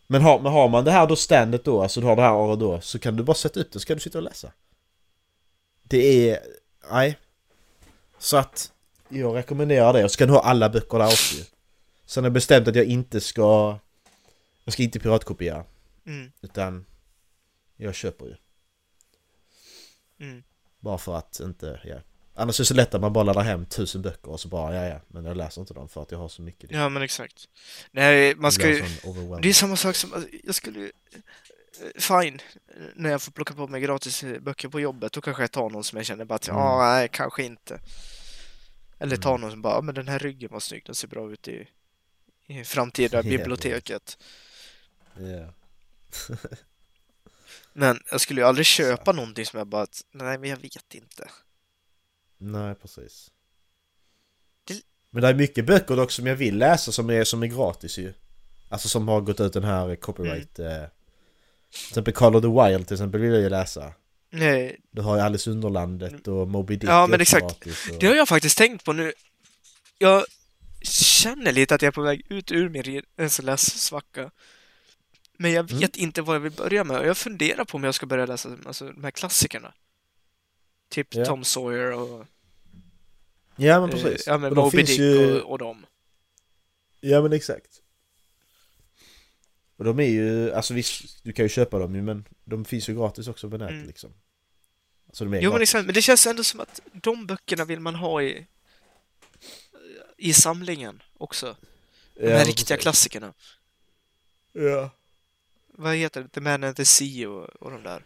Speaker 3: Men, har, men har man det här då standet då, alltså du har det här och då, så kan du bara sätta upp det så kan du sitta och läsa. Det är... Nej. Så att jag rekommenderar det och så kan du ha alla böcker där också ju. Sen har jag bestämt att jag inte ska... Jag ska inte piratkopiera,
Speaker 4: Mm,
Speaker 3: utan jag köper ju.
Speaker 4: mm.
Speaker 3: Bara för att inte... Ja. Annars är det så lätt att man bara laddar hem tusen böcker och så bara ja ja, men jag läser inte dem för att jag har så mycket.
Speaker 4: Ja, men exakt. Nej, man ska ju... Det är
Speaker 3: ju...
Speaker 4: samma sak som, alltså, jag skulle ju- eh, Fine, eh, när jag får plocka på mig gratis eh, böcker på jobbet, då kanske jag tar någon som jag känner bara att, ja,
Speaker 3: Mm.
Speaker 4: nej, kanske inte. Eller tar någon som bara, ja, men den här ryggen var snygg, den ser bra ut i, i framtida
Speaker 3: Jävlar.
Speaker 4: biblioteket. Men jag skulle ju aldrig köpa någonting som jag bara, att, nej, men jag vet inte.
Speaker 3: Nej, precis.
Speaker 4: Det-
Speaker 3: Men det är mycket böcker dock som jag vill läsa som är, som är gratis ju. Alltså som har gått ut den här copyright...
Speaker 4: Mm.
Speaker 3: Eh, till exempel Call of the Wild till exempel vill jag ju läsa.
Speaker 4: Nej,
Speaker 3: Du har ju Alice i Underlandet och Moby Dick
Speaker 4: Mm. Ja,
Speaker 3: är
Speaker 4: men
Speaker 3: också
Speaker 4: exakt.
Speaker 3: gratis och...
Speaker 4: det har jag faktiskt tänkt på nu. Jag känner lite att jag är på väg ut ur min re- så lässvacka. Men jag
Speaker 3: Mm.
Speaker 4: vet inte vad jag vill börja med och jag funderar på om jag ska börja läsa alltså, de här klassikerna. Typ
Speaker 3: Ja.
Speaker 4: Tom Sawyer och,
Speaker 3: Ja, men
Speaker 4: eh,
Speaker 3: precis.
Speaker 4: ja, men
Speaker 3: Och de
Speaker 4: Moby
Speaker 3: finns
Speaker 4: Dick
Speaker 3: ju-
Speaker 4: och, och dem.
Speaker 3: Ja, men exakt. Och de är ju... Alltså visst, du kan ju köpa dem ju men de finns ju gratis också på nätet
Speaker 4: Mm.
Speaker 3: liksom. Alltså de är
Speaker 4: Jo, men,
Speaker 3: gratis.
Speaker 4: exakt, men det känns ändå som att de böckerna vill man ha i, i samlingen också. De
Speaker 3: Ja,
Speaker 4: här
Speaker 3: men
Speaker 4: riktiga
Speaker 3: precis.
Speaker 4: klassikerna.
Speaker 3: Ja.
Speaker 4: Vad heter det? The Man and the Sea och, och de där.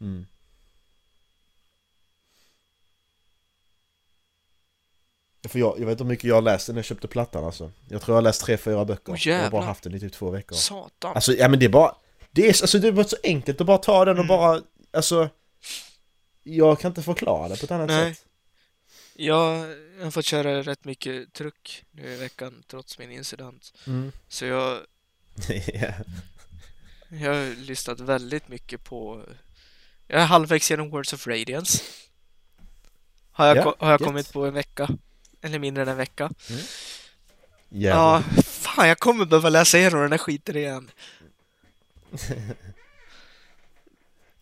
Speaker 3: Mm. Ja, För jag, jag vet inte hur mycket jag läste när jag köpte plattan alltså. Jag tror jag har läst tre, fyra böcker.
Speaker 4: Åh,
Speaker 3: jag har
Speaker 4: jävlar.
Speaker 3: bara haft den i typ två veckor.
Speaker 4: Satan.
Speaker 3: Alltså, ja men det är bara... Det är, alltså, det är bara så enkelt att bara ta den och
Speaker 4: Mm.
Speaker 3: bara... Alltså... Jag kan inte förklara det på ett annat
Speaker 4: Nej.
Speaker 3: sätt.
Speaker 4: Jag har fått köra rätt mycket truck nu i veckan trots min incident.
Speaker 3: Mm.
Speaker 4: Så jag,
Speaker 3: Ja.
Speaker 4: jag har lyssnat väldigt mycket på... Jag är halvvägs genom Words of Radiance. Har jag,
Speaker 3: Ja,
Speaker 4: ko- har jag
Speaker 3: gött.
Speaker 4: kommit på en vecka. Eller mindre än en vecka.
Speaker 3: Jävlar.
Speaker 4: Ja, fan jag kommer behöva läsa igenom den här skiten igen.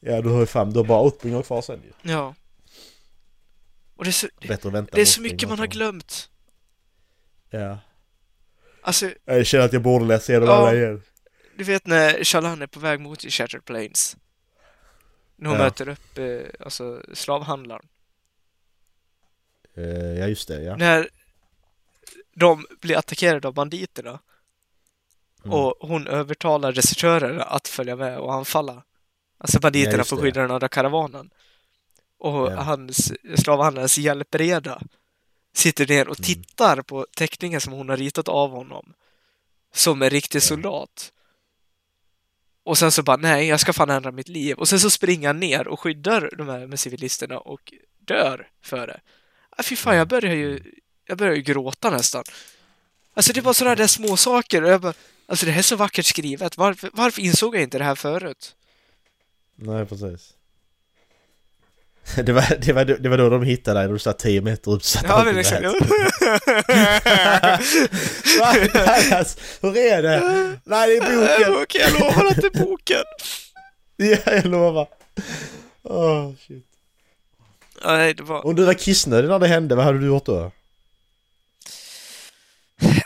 Speaker 3: Ja, du har ju fram, du har bara åttringar kvar sen ju.
Speaker 4: Ja. Och det är så, det,
Speaker 3: Bättre att vänta
Speaker 4: det är
Speaker 3: med
Speaker 4: så
Speaker 3: åttringar
Speaker 4: mycket man har
Speaker 3: på.
Speaker 4: glömt.
Speaker 3: Ja.
Speaker 4: Alltså,
Speaker 3: Jag känner att jag borde läsa igenom
Speaker 4: Ja.
Speaker 3: alla igen.
Speaker 4: Du vet när Shalan är på väg mot Shattered Plains? När hon
Speaker 3: Ja.
Speaker 4: möter upp eh, alltså, slavhandlaren.
Speaker 3: Eh, Ja, just det, ja.
Speaker 4: När de blir attackerade av banditerna
Speaker 3: Mm.
Speaker 4: och hon övertalar regissören att följa med och anfalla. Alltså banditerna
Speaker 3: just
Speaker 4: får
Speaker 3: det.
Speaker 4: skydda den andra karavanen. Och
Speaker 3: Ja.
Speaker 4: hans slavhandlarens hjälpreda sitter ner och tittar på teckningen som hon har ritat av honom. Som en riktig soldat. Och sen så bara, nej, jag ska fan ändra mitt liv. Och sen så springer han ner och skyddar de här med civilisterna och dör för det. Ah, fy fan, jag börjar ju, jag börjar ju gråta nästan. Alltså det är bara sådana där små saker. Och jag bara, alltså det här är så vackert skrivet. Varför, varför insåg jag inte det här förut?
Speaker 3: Nej, precis. Det var, det, var, det var då de hittade dig, när du satt 10 meter uppsatt.
Speaker 4: Ja, liksom- men liksom.
Speaker 3: Va? Dallas, Hur är det? Nej, det är boken!
Speaker 4: Eh, Okej, jag lovar att det är boken.
Speaker 3: Ja, jag lovar. Åh, shit.
Speaker 4: Ja, Nej, det var...
Speaker 3: Om du var kissnödig när det hände, vad hade du gjort då?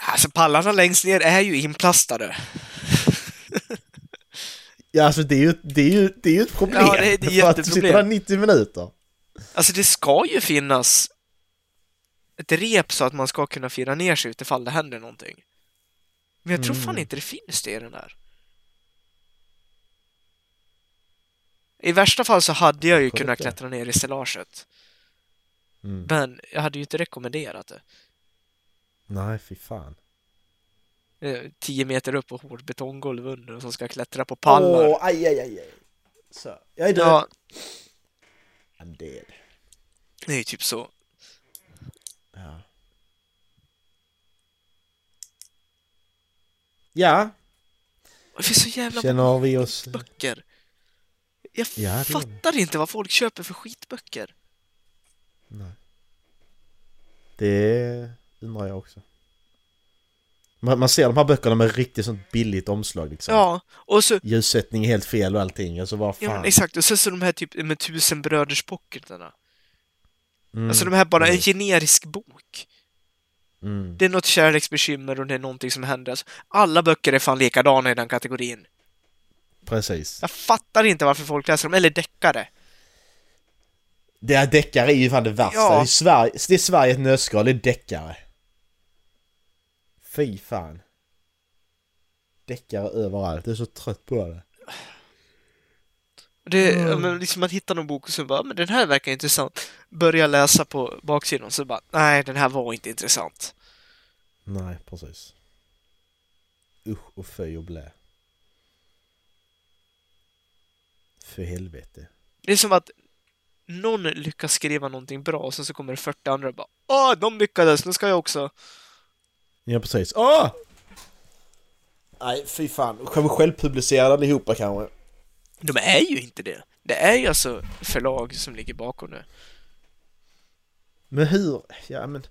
Speaker 4: Alltså pallarna längst ner är ju inplastade.
Speaker 3: Ja, alltså det är ju, det är ju, det är ju ett problem.
Speaker 4: Ja, det är ett
Speaker 3: För att du
Speaker 4: jätteproblem.
Speaker 3: sitter där 90 minuter.
Speaker 4: Alltså det ska ju finnas ett rep så att man ska kunna fira ner sig utifall det händer någonting. Men jag tror fan inte det finns det i den här. I värsta fall så hade jag ju
Speaker 3: Sjukt,
Speaker 4: kunnat
Speaker 3: ja.
Speaker 4: klättra ner i stellaget.
Speaker 3: Mm.
Speaker 4: Men jag hade ju inte rekommenderat det.
Speaker 3: Nej, fy fan.
Speaker 4: Eh, 10 meter upp och hårt betonggolv under och som ska klättra på pallar.
Speaker 3: Åh, aj, aj, aj, aj. Så, jag är död.
Speaker 4: ja,
Speaker 3: I'm dead.
Speaker 4: det är ju typ så.
Speaker 3: Ja. Ja,
Speaker 4: Det finns så jävla
Speaker 3: känner vi oss...
Speaker 4: böcker. Jag
Speaker 3: Ja, det är-
Speaker 4: fattar inte vad folk köper för skitböcker.
Speaker 3: Det undrar jag också. Man, man ser de här böckerna med riktigt sånt billigt omslag liksom.
Speaker 4: Ja, och så
Speaker 3: Ljussättning är helt fel och allting. Alltså vad fan.
Speaker 4: Ja, men exakt. Och sen så de här typ med tusen bröders pocketarna.
Speaker 3: Mm,
Speaker 4: Alltså de här bara en
Speaker 3: Mm.
Speaker 4: generisk bok.
Speaker 3: mm.
Speaker 4: Det är något kärleksbekymmer och det är någonting som händer. Alltså, alla böcker är fan likadana i den kategorin.
Speaker 3: Precis.
Speaker 4: Jag fattar inte varför folk läser dem. Eller deckare.
Speaker 3: Det här deckare är ju fan det värsta.
Speaker 4: Ja.
Speaker 3: Det, är Sverige, det är Sverige ett nötskal, det är deckare. Fy fan. Deckare överallt, jag är så trött på det.
Speaker 4: Det,
Speaker 3: Mm.
Speaker 4: ja, men liksom man hittar någon bok och så bara, men den här verkar intressant. Börjar läsa på baksidan och så bara, nej den här var inte intressant.
Speaker 3: Nej, precis. Usch och fy och blä. För helvete.
Speaker 4: Det är som att någon lyckas skriva någonting bra och sen så kommer det 40 andra och bara, åh de lyckades, nu ska jag också.
Speaker 3: Ja, precis. Åh! Nej, fy fan. Kommer självpublicerade allihopa kanske.
Speaker 4: De är ju inte det. Det är ju alltså förlag som ligger bakom det.
Speaker 3: Men hur? Ja, men...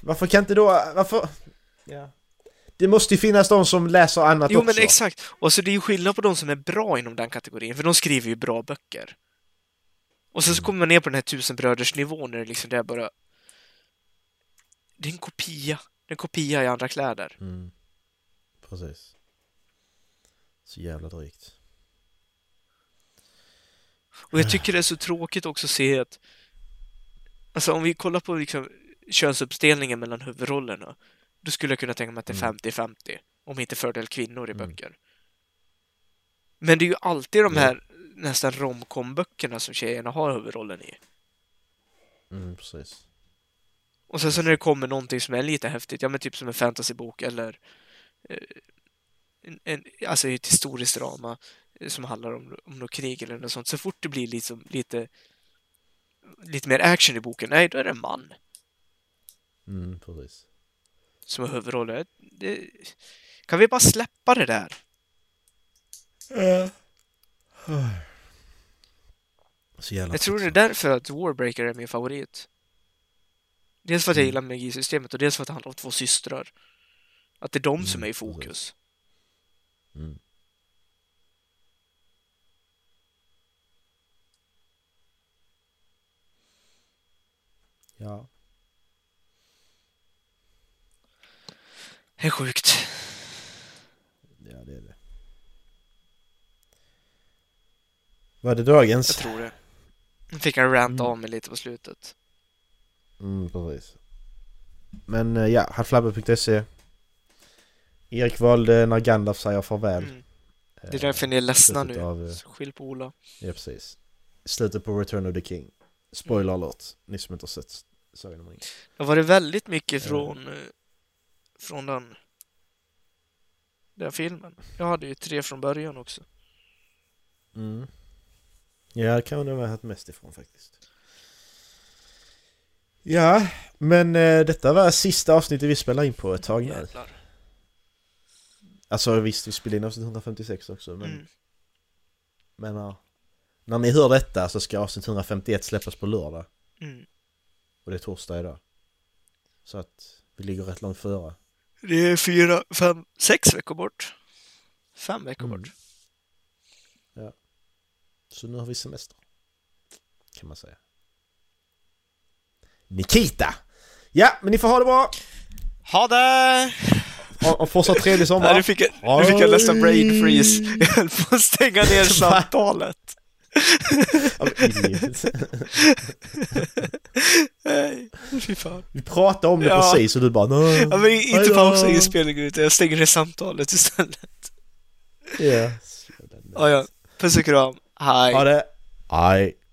Speaker 3: Varför kan inte då... Varför? Ja. Det måste ju finnas de som läser annat
Speaker 4: Jo
Speaker 3: också.
Speaker 4: men exakt! Och så det är ju skillnad på de som är bra inom den kategorin, för de skriver ju bra böcker. Och sen så kommer man ner på den här tusenbrödersnivån när det liksom där bara... Det är en kopia. Det är en kopia i andra kläder.
Speaker 3: Mm. Precis. Så jävla drygt.
Speaker 4: Och jag tycker det är så tråkigt också att se att... Alltså om vi kollar på liksom könsuppdelningen mellan huvudrollerna, då skulle jag kunna tänka mig att det är 50-50. Om inte fördel kvinnor i
Speaker 3: Mm.
Speaker 4: böcker. Men det är ju alltid de här nästan romcomböckerna som tjejerna har huvudrollen i.
Speaker 3: Mm, precis.
Speaker 4: Och sen så när det kommer någonting som är lite häftigt, ja men typ som en fantasybok eller eh, en, en, alltså ett historiskt drama eh, som handlar om, om något krig eller något sånt, så fort det blir liksom lite lite mer action i boken, nej då är det en man
Speaker 3: Mm, precis.
Speaker 4: som har huvudrollen. Det, kan vi bara släppa det där?
Speaker 3: Så jävla
Speaker 4: Jag tror det är
Speaker 3: trött.
Speaker 4: därför att Warbreaker är min favorit. Dels för att jag gillar magisystemet och dels för att det handlar om två systrar. Att det är de som
Speaker 3: Mm,
Speaker 4: är i fokus.
Speaker 3: Mm. Ja.
Speaker 4: Det är sjukt.
Speaker 3: Ja, det är det. Var det dagens?
Speaker 4: Jag tror det. Nu fick jag ranta
Speaker 3: Mm.
Speaker 4: av mig lite på slutet.
Speaker 3: Mm, precis. Men eh, ja, halflabben.se Erik valde när Gandalf säger farväl.
Speaker 4: Mm. Det är därför ni är ledsna
Speaker 3: slutet
Speaker 4: nu.
Speaker 3: Av, eh,
Speaker 4: Skyll på Ola.
Speaker 3: ja, precis. Slutet på Return of the King. Spoiler
Speaker 4: Mm.
Speaker 3: alert, ni som inte har sett Sagan om ringen.
Speaker 4: Det har varit väldigt mycket
Speaker 3: Ja.
Speaker 4: från, eh, från den, den filmen. Jag hade ju tre från början också.
Speaker 3: Mm. Ja, det kan man ha haft mest ifrån faktiskt. Ja, men eh, detta var sista avsnittet vi spelar in på ett tag nu.
Speaker 4: Jävlar.
Speaker 3: Alltså visst, vi spelade in avsnitt 156 också, men,
Speaker 4: Mm.
Speaker 3: men ja. När ni hör detta så ska avsnitt 151 släppas på lördag.
Speaker 4: Mm.
Speaker 3: Och det är torsdag idag. Så att vi ligger rätt långt före.
Speaker 4: Det är fyra, fem, sex veckor bort. Fem veckor
Speaker 3: Mm.
Speaker 4: bort.
Speaker 3: Så nu har vi semester. Kan man säga. Nikita! Ja, men ni får ha det bra!
Speaker 4: Ha det!
Speaker 3: Och, och fortsatt trevlig sommar!
Speaker 4: Nej, nu fick jag, nu fick jag nästan brain freeze. Jag höll på att stänga ner samtalet.
Speaker 3: Ja, men idiot.
Speaker 4: Nej, fy fan.
Speaker 3: Vi pratade om det
Speaker 4: Ja.
Speaker 3: precis och du bara nej.
Speaker 4: Ja, men typ inte
Speaker 3: Hejdå.
Speaker 4: pausa inspelningen utan jag stänger ner samtalet istället.
Speaker 3: Ja.
Speaker 4: Ja, ja. Puss och kram. Hej.
Speaker 3: Ha det! Aj.